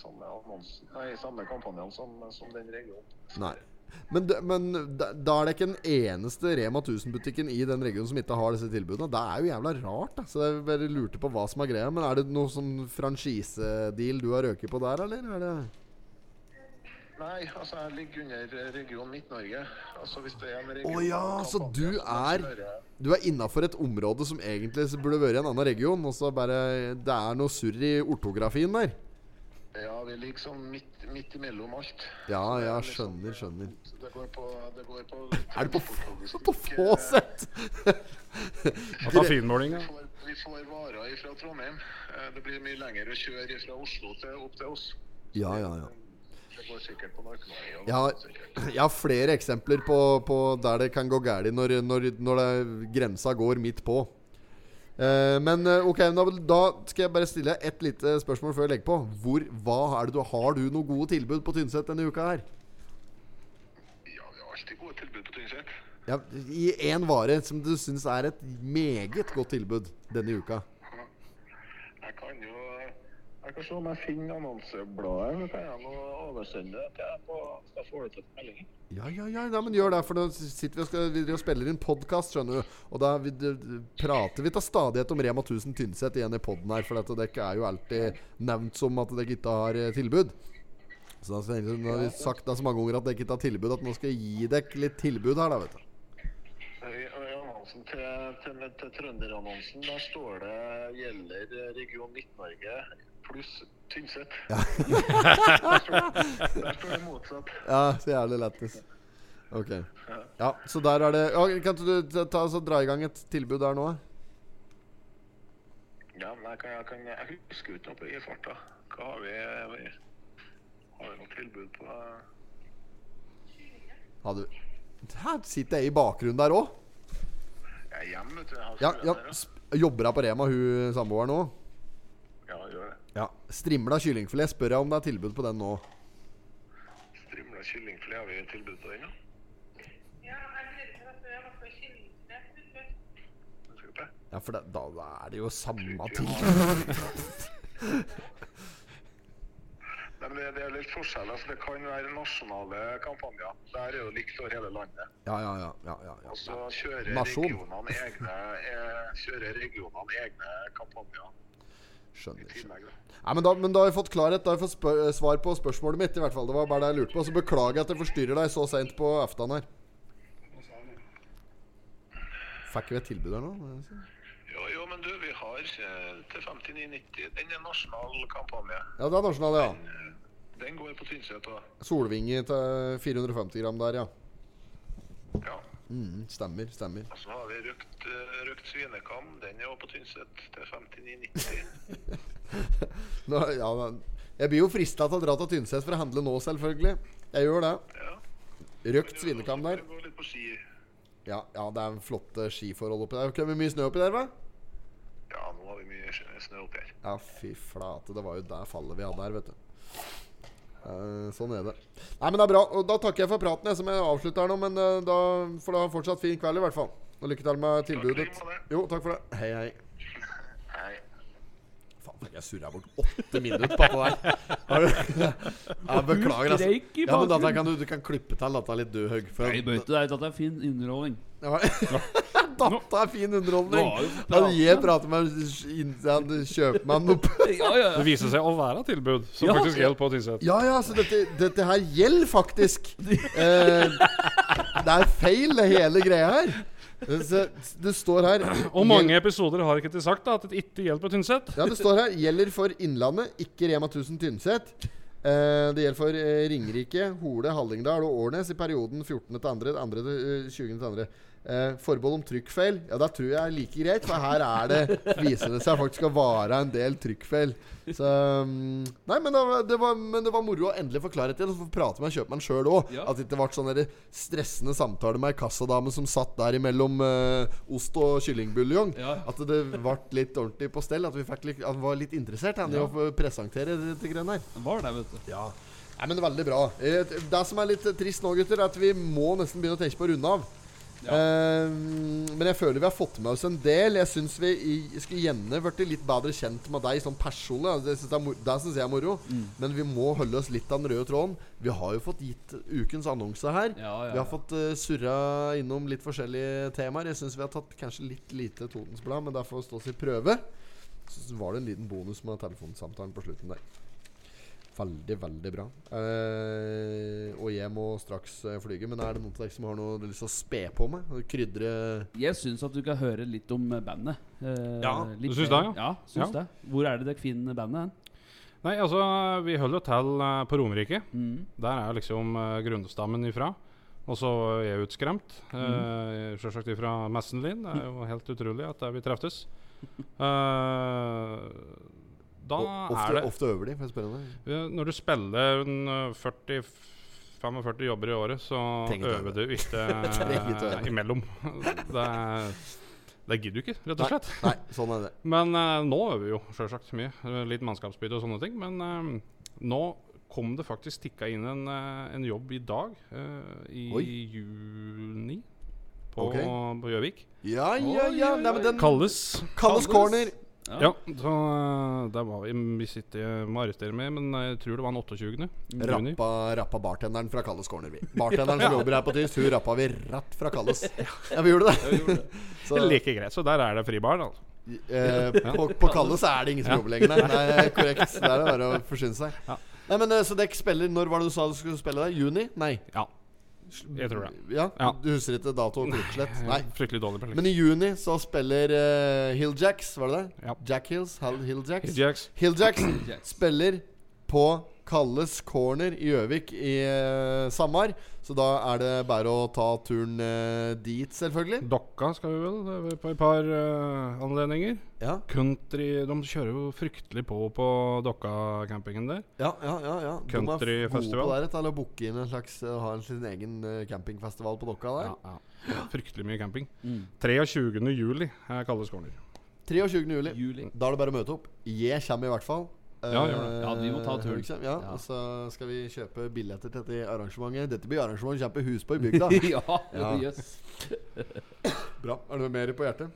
F: samme annonsen, nei, samme kampanjen som, som den regionen.
A: Nei. Men, d- men da, da er det ikke den eneste Rema 1000-butikken i den regionen som ikke har disse tilbudene. Det er jo jævla rart. Da. Så jeg bare lurte på hva som er greia. Men er det noe sånn franchisedeal du har røket på der, eller? Er det
F: Nei, altså jeg ligger under region Midt-Norge. Altså hvis det er en region...
A: Å ja, så
F: kampanje,
A: du er
F: kjører-
A: Du er innafor et område som egentlig så burde vært i en annen region, og så bare Det er noe surr i ortografien der.
F: Ja, vi ligger sånn midt, midt imellom alt.
A: Ja,
F: Så det er
A: ja,
F: liksom-
A: skjønner, skjønner.
F: Det går på... Det går på eh,
A: Er det på, f- på få sett?
B: Og ta finmålinga.
F: Vi får, vi får varer fra Trondheim. Eh, Det blir mye lengre å kjøre fra Oslo til, opp til oss.
A: [LAUGHS] Ja, ja, ja.
F: Det går sikkert på narkomani. og-
A: Jeg har, jeg har flere eksempler på, på der det kan gå galt når, når, når det, grensa går midt på. Eh, men eh, ok, da, da skal jeg bare stille deg et lite spørsmål før jeg legger på. Hvor, hva er det du, har du noen gode tilbud på Tynset denne uka her?
F: Ja, vi har alltid gode tilbud på Tynset.
A: Ja, I én vare som du syns er et meget godt tilbud denne uka.
F: Jeg kan jo Jeg kan se om jeg finner annonsebladet. Så kan jeg nå oversende det til deg, på- så får du til meldingen.
A: Ja, ja, ja, ja, men gjør det, for nå sitter vi og, skal, vi driver og spiller inn podkast, skjønner du. Og da vi, d- d- prater vi til stadighet om Rema 1000 Tynset igjen i poden her, for dette dere er jo alltid nevnt som at dere ikke har eh, tilbud. Så da, tenker jeg, nå har vi sagt da så mange ganger at dere ikke har tilbud, at nå skal jeg gi dere litt tilbud her, da, vet du.
F: I i annonsen til, til, til Trønderannonsen der står det 'gjelder region Midt-Norge pluss Tynset'. der, står, der står det motsatt.
A: Ja, så jævlig lættis. Ok. Ja, så der er det ja, Kan ikke du ta, ta, så dra i gang et tilbud der nå?
F: Ja, men jeg, kan, jeg, kan, jeg husker ikke noe på i farta. Hva har vi Har vi noe tilbud på
A: Ja, du Her sitter jeg i bakgrunnen der òg.
F: Jeg er hjemme, vet du. Jeg har
A: Ja, ja,
F: studenter,
A: sp- jobber hun på Rema, hun samboeren nå?
F: ja, gjør det.
A: Ja. Strimla kyllingfilet. Spør jeg om det er tilbud på den nå.
F: Strimla kyllingfilet, har vi tilbud på den? Ja? Jeg skal på.
A: Ja, for det, da er det jo samme ting.
F: Nei, men det, det er litt forskjell. Altså, det kan være nasjonale kampanjer. Der er det jo likt over hele landet.
A: Ja, ja, ja. ja, ja, ja.
F: Og så kjører
A: Nasjon.
F: regionene egne, eh, kjører regionene egne kampanjer
A: Skjønner.
F: i
A: skjønner.
F: tillegg. da.
A: Nei, men da, men da har jeg fått klarhet. Da har jeg fått spør eh, svar på spørsmålet mitt. I hvert fall, Det var bare det jeg lurte på. Så beklager jeg at jeg forstyrrer deg så seint på aftan her. Fikk vi et tilbud her nå?
F: Jo, jo, men du, vi har eh, til 59,90. Den er nasjonal kampanje.
A: Ja, det er nasjonal, ja.
F: Den går på Tynset og
A: Solvinge til 450 gram der, ja.
F: ja.
A: Mm, stemmer, stemmer. [LAUGHS]
F: Og så har vi røkt, eh, røkt svinekam. Den er også på Tynset til 59,90.
A: Nå, ja, men jeg blir jo frista til å dra til Tynset for å handle nå, selvfølgelig. Jeg gjør det.
F: Ja.
A: Røkt svinekam der.
F: Gå litt på ski.
A: Ja, ja det er flotte skiforhold oppi der. Kommer mye snø oppi der, hva?
F: Ja, nå har vi mye snø- snø oppi her.
A: Ja, fy flate. Det var jo der fallet vi hadde her, vet du. Eh, sånn er det. Nei, men det er bra. Og da takker jeg for praten, jeg, som jeg avslutter her nå. Men eh, da får du ha en fortsatt fin kveld, i hvert fall. Og lykke til med tilbudet.
F: Takk, like måte.
A: Jo, takk for det. Hei, hei.
F: Hei.
A: Faen, tenk, jeg surra bort åtte minutter på det der. Har du- [LAUGHS] Jeg beklager, altså.
C: Streik i
A: Ja, men dette
C: bakgrunnen.
A: kan du, du kan klippe til dette litt du, Haug. for-
C: Nei, bøyte deg ut at det er fin underholdning.
A: Ja, [LAUGHS] men- Dette er fin underholdning.
C: Nå har vi fått
A: Hadde
C: prate.
A: jeg pratet med deg, kjøp meg noe p-
C: Ja, ja,
B: Det viser seg å være tilbud som
C: Ja.
B: faktisk gjelder på Tynset.
A: [LAUGHS] Ja ja, så dette, dette her gjelder faktisk. Eh, det er feil, det hele greia her. Så, det står her
B: Og mange episoder har ikke til sagt da, at det ikke gjelder på Tynset.
A: Ja, det står her. Gjelder for Innlandet, ikke Rema 1000 Tynset. Eh, det gjelder for eh, Ringerike, Hole, Hallingdal og Årnes i perioden 14.2. til 20.2. Eh, forbehold om trykkfeil. Ja, da tror jeg er like greit, for her er det viser det seg faktisk å være en del trykkfeil. Så mm, Nei, men det, var, det var, men det var moro å endelig få klarhet i det. Og så få prate med kjøpmannen sjøl òg.
C: Ja.
A: At det ikke ble sånn der stressende samtale med ei kassadame som satt der imellom eh, ost og kyllingbuljong.
C: Ja.
A: At det ble litt ordentlig på stell. At vi fikk litt, at han var litt interessert han, i å få presentere dette greiene her.
C: Det var det, vet du.
A: Ja. Nei, men veldig bra. Eh, Det som er litt trist nå, gutter, er at vi må nesten begynne å tenke på å runde av. Eh, men jeg føler vi har fått med oss en del. Jeg syns vi i, skulle gjerne blitt litt bedre kjent med deg sånn personlig. Det syns jeg, er mor- det synes jeg er moro.
C: Mm.
A: Men vi må holde oss litt av den røde tråden. Vi har jo fått gitt ukens annonse her.
C: Ja, ja,
A: Vi
C: ja.
A: har fått eh, surra innom litt forskjellige temaer. Jeg syns vi har tatt kanskje litt lite Totens Blad, men det får stå sin prøve. Så var det en liten bonus med telefonsamtalen på slutten der. Veldig, veldig bra. Eh, og jeg må straks eh, flyge, men er det noen av dere som har noe lyst til å spe på med? Krydre
C: Jeg syns at du kan høre litt om eh, bandet. Eh,
B: Ja,
C: litt
B: du syns
C: mer.
B: det,
C: Ja, syns det. Hvor er det dere finner bandet hen?
B: Nei, altså, vi holder jo til eh, på Romerike.
A: Mm.
B: Der er liksom eh, grunnstammen ifra. Og så er jeg utskremt.
A: Mm.
B: Uh, Sjølsagt ifra Messenlien. Det er jo helt utrolig at der vi
A: [LAUGHS]
B: treftes. Eh, da
A: O-
B: er
A: ofte,
B: det
A: ofte øver de, får jeg spørre om det?
B: Ja, Når du spiller en, eh, 40 45 jobber i året, så
A: Trenger ikke
B: øver
A: øve.
B: du
A: [LAUGHS]
B: ikke
A: Trenger ikke øve.
B: eh, imellom. Det, er- det gidder du ikke, rett og slett.
A: Nei, sånn er det.
B: Men eh, nå øver vi jo sjølsagt mye. Eh, Litt mannskapsbytte og sånne ting. Men eh, nå kom det faktisk tikka inn en, eh, en jobb i dag, eh, i
A: Oi.
B: juni, på
A: Ok.
B: på Gjøvik.
A: Ja, ja, ja. Nei, men den
B: Kalles
A: Kalles corner.
C: Ja.
B: Ja, så eh, der var vi. Vi sitter jeg må arrestere meg, men eh, jeg tror det var den 28. juni.
A: Rappa, rappa bartenderen fra Kalles corner,
B: [LAUGHS]
A: vi. Bartenderen som jobber her på Tyst, hun rappa vi rett fra Kalles. Ja, vi gjorde det. [LAUGHS] Så,
B: Det er Like greit, så der er det fribar. Altså.
A: eh, på, på Kalles er det ingen som jobber
B: [LAUGHS]
A: lenger, nei. nei. Korrekt. Der er det bare å forsyne seg.
B: Ja.
A: Nei, men eh, Så dere spiller Når var det du sa du skulle spille der? Juni? Nei.
B: Ja, jeg tror det.
A: Ja,
B: Ja.
A: Du husker ikke dato og klokkeslett? Nei.
B: Fryktelig dårlig
A: Men
B: perfekt.
A: i juni så spiller eh, Hilljacks, var det det?
B: Ja.
A: Jack Hills? Hal Hilljacks?
B: Jacks.
A: Hilljacks spiller på Kalles Corner i Gjøvik i eh, Samar. Så da er det bare å ta turen eh, dit, selvfølgelig.
B: Dokka skal vi vel eh, på et par eh, anledninger.
A: Ja,
B: Country De kjører jo fryktelig på på Dokka-campingen der.
A: ja, ja. ja, ja. De er
B: Country
A: gode
B: festival.
A: på det her, til å booke inn en slags eh, ha en sin egen eh, campingfestival på Dokka der.
B: Ja, Mm. ja. Fryktelig mye camping. 23. juli er Kalles corner.
A: 23. juli.
C: Juli.
A: Da er det bare å møte opp. Jeg kommer i hvert fall.
B: Ja, gjør det.
A: Eh,
C: Ja, vi må ta turen.
A: Henrik kommer, Ja,
C: Ja.
A: Og så skal vi kjøpe billetter til dette arrangementet. Dette blir arrangement kjempehus på i bygda.
C: [LAUGHS] ja,
A: Ja.
C: jøss.
A: Bra. Er det noe mer på hjertet?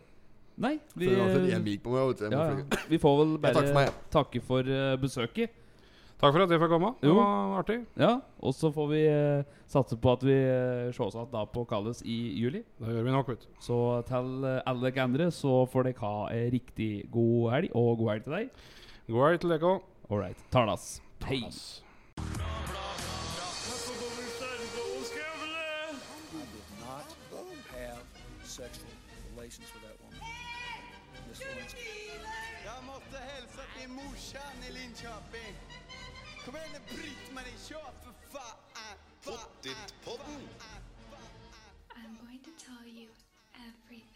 C: Nei, vi,
A: Vi, jeg er altså myk på meg. vet du, Jeg må
C: ja,
A: flyge.
C: ja. vi får vel bare
A: takker for meg.
C: takke for eh, besøket.
B: Takk for at jeg fikk komme. Det
C: Jo.
B: var artig.
C: Ja, Og så får vi eh, satse på at vi uh, ses igjen da på Kalles i juli.
B: Da gjør vi nok, vet du.
C: Så til eh, alle dere andre så får dere ha ei riktig god helg, og god helg til deg.
B: God helg til dere òg.
C: All right. Tarnas. Hei.
G: I did not have sexual relations with that woman. Miss Lewinsky.
D: Jag måste hälsa till morsan i Linköping. Kom igen nu Britt-Marie, kör för fan! Pottit-podden!
H: I'm going to tell you everything.